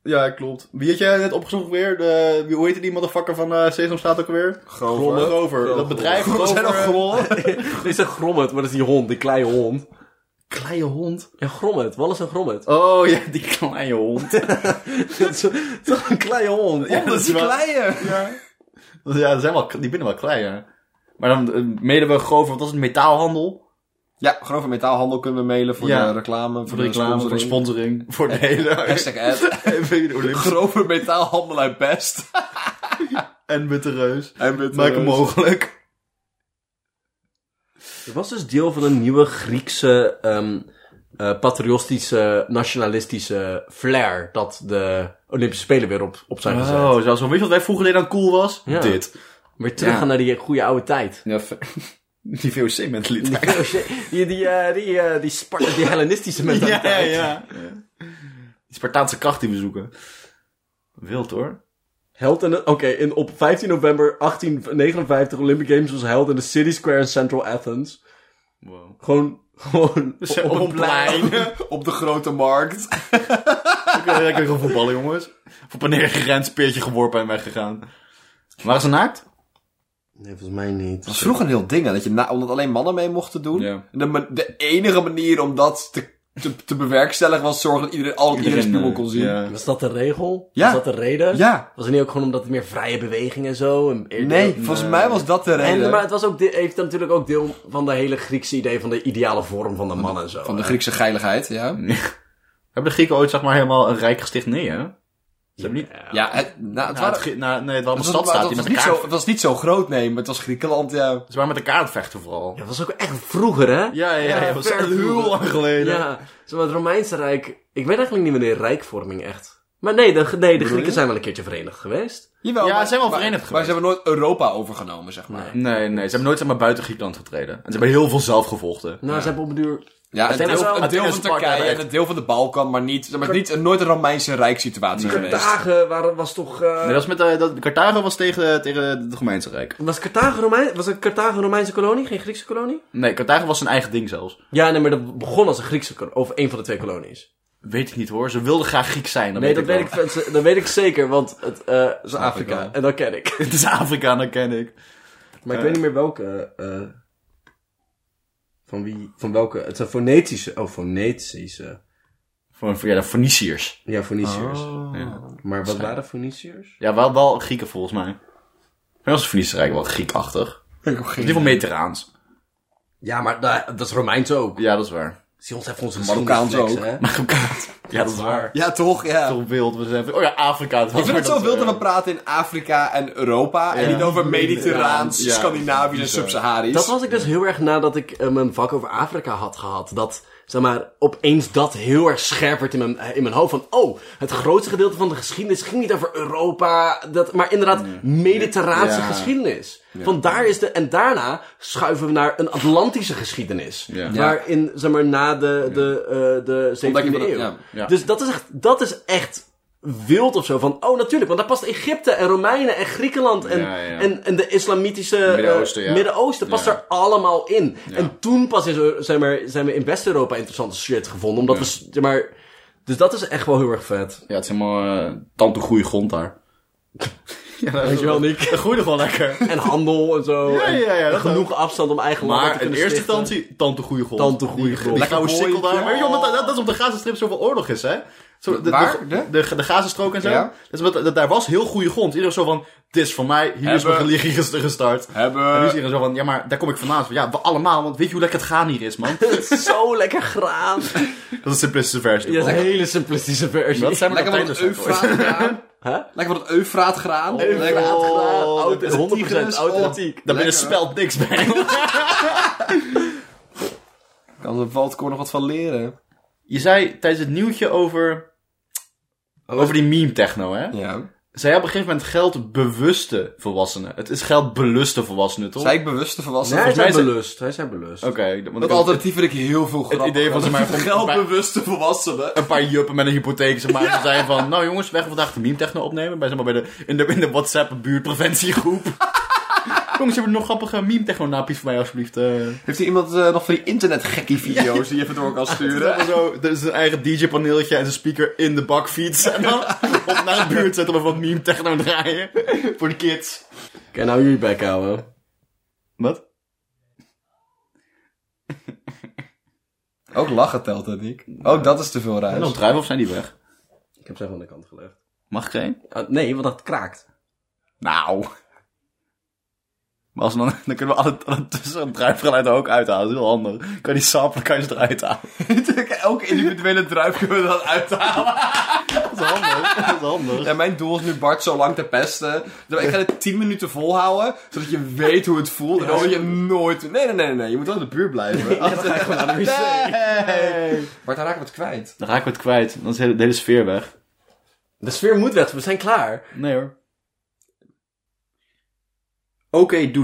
Speaker 3: Ja, klopt. Wie had jij net opgezocht weer? De, wie, hoe heette die motherfucker van eh Sesamstraat ook weer?
Speaker 4: Grover.
Speaker 3: Grover. Dat bedrijf
Speaker 4: Grover. Zijn dat
Speaker 3: Grover. (laughs)
Speaker 4: grollen?
Speaker 1: (laughs) is een grommet, maar dat is die hond, die kleine hond.
Speaker 3: Kleine hond.
Speaker 1: Ja, grommet. Wat is een grommet?
Speaker 3: Oh ja, die kleine hond.
Speaker 1: Toch een kleine hond.
Speaker 3: Ja,
Speaker 4: Dat is die kleine.
Speaker 3: Ja, die zijn wel, die binnen wel klein, hè. Maar dan eh, mailen we Grover, want dat is een metaalhandel.
Speaker 4: Ja, Grover Metaalhandel kunnen we mailen voor
Speaker 3: Ja.
Speaker 4: de reclame.
Speaker 3: Voor de reclame, voor de
Speaker 4: sponsoring.
Speaker 3: sponsoring. (laughs) Voor de hele...
Speaker 4: Hashtag ad.
Speaker 3: (laughs) Even de Olympische-
Speaker 4: Grover Metaalhandel uit Best.
Speaker 3: En met eh, de reus.
Speaker 4: En met
Speaker 3: Maak hem mogelijk.
Speaker 1: Het was dus deel van een nieuwe Griekse, ehm, eh, patriotische, nationalistische flair dat de Olympische Spelen weer op, op zijn gezet.
Speaker 3: Oh, zoals weet je wat wij vroeger deden aan cool was?
Speaker 1: Ja.
Speaker 3: Dit.
Speaker 1: Weer terug
Speaker 3: Ja.
Speaker 1: naar die goede oude tijd.
Speaker 3: Ja, ver- (laughs) die VOC-mentaliteit. (laughs)
Speaker 1: Oh shit, die, die, eh, die, eh, die, Spar- die Hellenistische mentaliteit.
Speaker 3: Ja, (laughs) ja. Die Spartaanse kracht die we zoeken. Wild hoor.
Speaker 1: Held in de- Oké, in- op 15 november 1859 Olympic Games was held in de City Square in Central Athens.
Speaker 3: Wow.
Speaker 1: Gewoon,
Speaker 3: (laughs)
Speaker 1: gewoon
Speaker 3: Dus Op, een plein. We
Speaker 4: Op de grote markt.
Speaker 3: (laughs) kunnen lekker gaan voetballen, jongens. Of op een neergerend speertje geworpen en weggegaan. Waren ze naakt?
Speaker 1: Nee, volgens mij niet.
Speaker 4: Dat was vroeger een heel ding, hè, dat je na, omdat alleen mannen mee mochten doen.
Speaker 3: Ja.
Speaker 4: En De, ma- de enige manier om dat te, te, te bewerkstelligen was zorgen dat iedereen, al, iedereen spiegel kon zien. Ja.
Speaker 3: Ja.
Speaker 1: Was dat de regel?
Speaker 4: Ja.
Speaker 1: Was dat de reden? Was het niet ook gewoon omdat het meer vrije beweging en zo? En eerder-
Speaker 4: Nee, volgens mij was dat eh, de reden.
Speaker 1: En, maar het was ook de- heeft natuurlijk ook deel van de hele Griekse idee van de ideale vorm van de man en zo.
Speaker 4: Van
Speaker 1: hè.
Speaker 4: de Griekse geiligheid, ja.
Speaker 3: Hebben de Grieken ooit zeg maar helemaal een rijk gesticht? Nee, hè? Ze hebben niet...
Speaker 4: Ja, het, nou, het
Speaker 3: Ja, het
Speaker 4: waren-
Speaker 3: Grie- nou, nee, het waren
Speaker 4: het
Speaker 3: een
Speaker 4: was, maar
Speaker 3: stadstaat
Speaker 4: het
Speaker 3: die
Speaker 4: was
Speaker 3: met
Speaker 4: niet
Speaker 3: elkaar...
Speaker 4: zo, het was niet zo groot, nee, maar het was Griekenland, ja.
Speaker 3: Ze waren met elkaar aan het vechten vooral.
Speaker 1: Ja, dat was ook echt vroeger, hè?
Speaker 3: Ja, ja, ja.
Speaker 1: Ja,
Speaker 3: Dat was
Speaker 1: ver
Speaker 3: echt heel
Speaker 1: vroeger.
Speaker 3: lang geleden.
Speaker 1: Ja, zeg maar, het Romeinse Rijk. Ik weet eigenlijk niet wanneer rijkvorming echt. Maar nee, de, nee, de Grieken zijn wel een keertje verenigd geweest.
Speaker 4: Jawel,
Speaker 3: Ja,
Speaker 4: maar-
Speaker 3: ze zijn wel
Speaker 4: maar- Maar
Speaker 3: verenigd geweest.
Speaker 4: ze hebben nooit Europa overgenomen, zeg maar.
Speaker 3: Nee, nee. Ze hebben nooit zeg maar, buiten Griekenland getreden. En ze hebben heel veel zelf gevochten.
Speaker 1: Nou, ze hebben op een duur.
Speaker 4: Ja, een
Speaker 1: Athene
Speaker 4: deel,
Speaker 1: wel-
Speaker 4: een deel
Speaker 3: Athene
Speaker 4: van
Speaker 3: Sparta
Speaker 4: Turkije en
Speaker 3: direct.
Speaker 4: een deel van de Balkan, maar niet, maar niet nooit een Romeinse rijkssituatie geweest.
Speaker 1: Carthage waren- was toch. eh,
Speaker 3: Nee, dat was met, eh, dat, Carthago was tegen, tegen het Romeinse Rijk.
Speaker 1: Was Carthage Romein, was het Carthage een Romeinse kolonie, geen Griekse kolonie?
Speaker 3: Nee, Carthago was zijn eigen ding zelfs.
Speaker 1: Ja, nee, maar dat begon als een Griekse kolonie, of een van de twee kolonies.
Speaker 3: Weet ik niet hoor. Ze wilden graag Griek zijn.
Speaker 1: nee, dat weet,
Speaker 3: wel.
Speaker 1: ik, ze- dat weet ik zeker, want het eh, is Afrika.
Speaker 4: wel.
Speaker 1: en dat ken ik.
Speaker 3: (laughs) Het is Dus Afrika, dat ken ik.
Speaker 1: Maar ik weet niet meer welke. eh, van wie, van welke. Het zijn fonetische. Oh, fonetische.
Speaker 3: Voor, voor- ja, de Phoeniciërs.
Speaker 1: Ja, Phoeniciërs.
Speaker 3: Oh. Ja.
Speaker 1: Maar wat waren Phoeniciërs?
Speaker 3: ja, wel, wel Grieken volgens mij. Maar was het Phoenicische Rijk wel Griekachtig. In ieder geval Mediterraans.
Speaker 1: Ja, maar da- dat is Romeins ook.
Speaker 3: Ja, dat is waar.
Speaker 1: Zie ons even onze
Speaker 4: Marokkaans
Speaker 1: geschiedenis
Speaker 4: ook.
Speaker 1: flexen, hè?
Speaker 3: Ja, dat is waar.
Speaker 4: Ja, toch? Ja.
Speaker 3: Toch wild, we zijn even- Oh ja, Afrika.
Speaker 4: Ik vind het zo wild dat we praten in Afrika en Europa en
Speaker 3: Ja.
Speaker 4: niet over Mediterraans,
Speaker 3: Ja.
Speaker 4: Scandinavisch en Sub-Saharisch.
Speaker 1: Dat was ik dus heel erg nadat ik eh, mijn vak over Afrika had gehad. Dat, zeg maar, opeens dat heel erg scherp werd in mijn, eh, in mijn hoofd. Van, oh, het grootste gedeelte van de geschiedenis ging niet over Europa. Dat, maar inderdaad, mediterraanse
Speaker 3: Ja.
Speaker 1: geschiedenis. Van daar is de, en daarna schuiven we naar een Atlantische geschiedenis.
Speaker 3: Ja.
Speaker 1: Waarin, zeg maar, na de, de, eh, de 17e
Speaker 4: van de-
Speaker 1: eeuw.
Speaker 4: ja,
Speaker 3: ja.
Speaker 1: Dus dat is echt, dat is echt wild of zo. Van, oh, natuurlijk, want daar past Egypte en Romeinen en Griekenland en,
Speaker 3: Ja, ja.
Speaker 1: en, en de islamitische
Speaker 3: Midden-Oosten,
Speaker 1: eh,
Speaker 3: ja.
Speaker 1: Midden-Oosten past
Speaker 3: Ja.
Speaker 1: er allemaal in. En toen pas is er, zijn, we, zijn we in West-Europa interessante shit gevonden. Omdat we, s- zeg maar, dus dat is echt wel heel erg vet.
Speaker 3: Ja, het is helemaal uh, tante goede grond daar. ja, dat
Speaker 1: Weet je wel, Nick?
Speaker 3: Dat groeide gewoon lekker. (laughs)
Speaker 1: En handel en zo.
Speaker 3: Ja, ja, ja,
Speaker 1: en
Speaker 3: dat
Speaker 1: genoeg afstand om eigen landen te
Speaker 3: Maar in
Speaker 1: kunnen
Speaker 3: eerste
Speaker 1: stichten.
Speaker 3: instantie, tante goede grond.
Speaker 1: Tante goeie grond.
Speaker 3: Die
Speaker 4: Lekker
Speaker 3: gouden
Speaker 4: mooi,
Speaker 3: sikkel daar.
Speaker 4: ja.
Speaker 3: Maar weet je, omdat, dat, dat is op de Gazastrip zoveel oorlog is, hè? Zo, de, de-
Speaker 4: Waar?
Speaker 3: De, de, de Gazastrook en zo.
Speaker 4: Ja.
Speaker 3: Dus dat, dat, daar was heel goede grond. Iedereen zo van, dit is van mij, hier is
Speaker 4: Hebben- Eh.
Speaker 3: mijn religie ges- gestart. En nu is
Speaker 4: Hebben...
Speaker 3: iedereen zo van, ja, maar daar kom ik vandaan. Zo, Ja, we allemaal, want weet je hoe lekker het gaan hier
Speaker 4: (laughs)
Speaker 3: is, man?
Speaker 1: (laughs)
Speaker 3: dat
Speaker 1: Het is zo lekker graan.
Speaker 3: is de simplistische versie.
Speaker 1: Ja, dat is
Speaker 3: ervan.
Speaker 1: een hele simplistische versie.
Speaker 3: Dat zijn maar
Speaker 4: Lekker wat het
Speaker 3: containers daarvoor.
Speaker 4: Eufraatgraan.
Speaker 1: Huh?
Speaker 4: Lekker wat het Eufraatgraan. Lekker-
Speaker 1: Graad, graad,
Speaker 3: Oh,
Speaker 1: oud-
Speaker 3: dat is
Speaker 1: 100%
Speaker 4: Tigris,
Speaker 1: authentiek.
Speaker 3: Daar
Speaker 4: Oh, Lekker,
Speaker 3: binnen spelt niks bij. (laughs)
Speaker 4: Kan de Waldkoor nog wat van leren.
Speaker 3: Je zei tijdens het nieuwtje over... Over die meme-techno, hè?
Speaker 4: Ja.
Speaker 3: Zij op een gegeven moment geld bewuste volwassenen. Het is geld beluste volwassenen, toch?
Speaker 4: Zei ik bewust de volwassenen?
Speaker 1: Nee, hij
Speaker 4: Volgens
Speaker 1: zijn
Speaker 4: mij is-
Speaker 1: belust. Hij zijn belust.
Speaker 3: Oké, want
Speaker 4: Dat
Speaker 3: ik had
Speaker 4: alternatief vind ik heel veel grappiger.
Speaker 3: idee van, zeg maar,
Speaker 4: Dat
Speaker 3: van-
Speaker 4: geldbewuste volwassenen.
Speaker 3: een paar juppen met een hypotheek, zeg maar. Ze zeiden van, nou jongens, weg vandaag de meme-techno opnemen. Bij, zeg maar, bij de, in de, in de (laughs) WhatsApp-buurtpreventiegroep. jongens, hebben nog grappige meme-techno-napies voor mij, alsjeblieft. eh.
Speaker 4: Heeft hier iemand eh, nog van die internetgekkie video's die je even door kan sturen?
Speaker 3: En zo, er is een eigen DJ-paneeltje en zijn speaker in de bakfiets. En dan op naar de buurt zetten we wat meme techno draaien. Voor de kids.
Speaker 1: Oké, nou jullie bek houden.
Speaker 3: Wat?
Speaker 4: Ook lachen telt dat, Nick. Ook dat is te veel
Speaker 3: En dan
Speaker 4: ruis.
Speaker 3: drijven of zijn die weg?
Speaker 1: Ik heb ze even aan de kant gelegd.
Speaker 3: Mag ik geen?
Speaker 1: Ah, nee, want dat kraakt.
Speaker 3: Nou. Maar als we dan, dan kunnen we alle, alle tussen het druifgeluid er ook uithalen. Dat is heel handig. Kan je die samplen, kan je ze eruit halen.
Speaker 4: (laughs) Elke individuele druif kunnen we dat uithalen.
Speaker 3: Dat is handig. (laughs) Dat is handig.
Speaker 4: Ja, mijn doel is nu Bart zo lang te pesten. Dus Ik ga dit 10 minuten volhouden, zodat je weet hoe het voelt. En dan wil je nooit... Nee, nee, nee, nee, nee. Je moet wel in de buurt blijven.
Speaker 3: Hey.
Speaker 4: Bart, dan raak ik het kwijt.
Speaker 3: Dan raak ik het kwijt. Dan is de hele, de hele sfeer weg.
Speaker 1: De sfeer moet weg, we zijn klaar.
Speaker 3: Nee hoor. Oké, doei.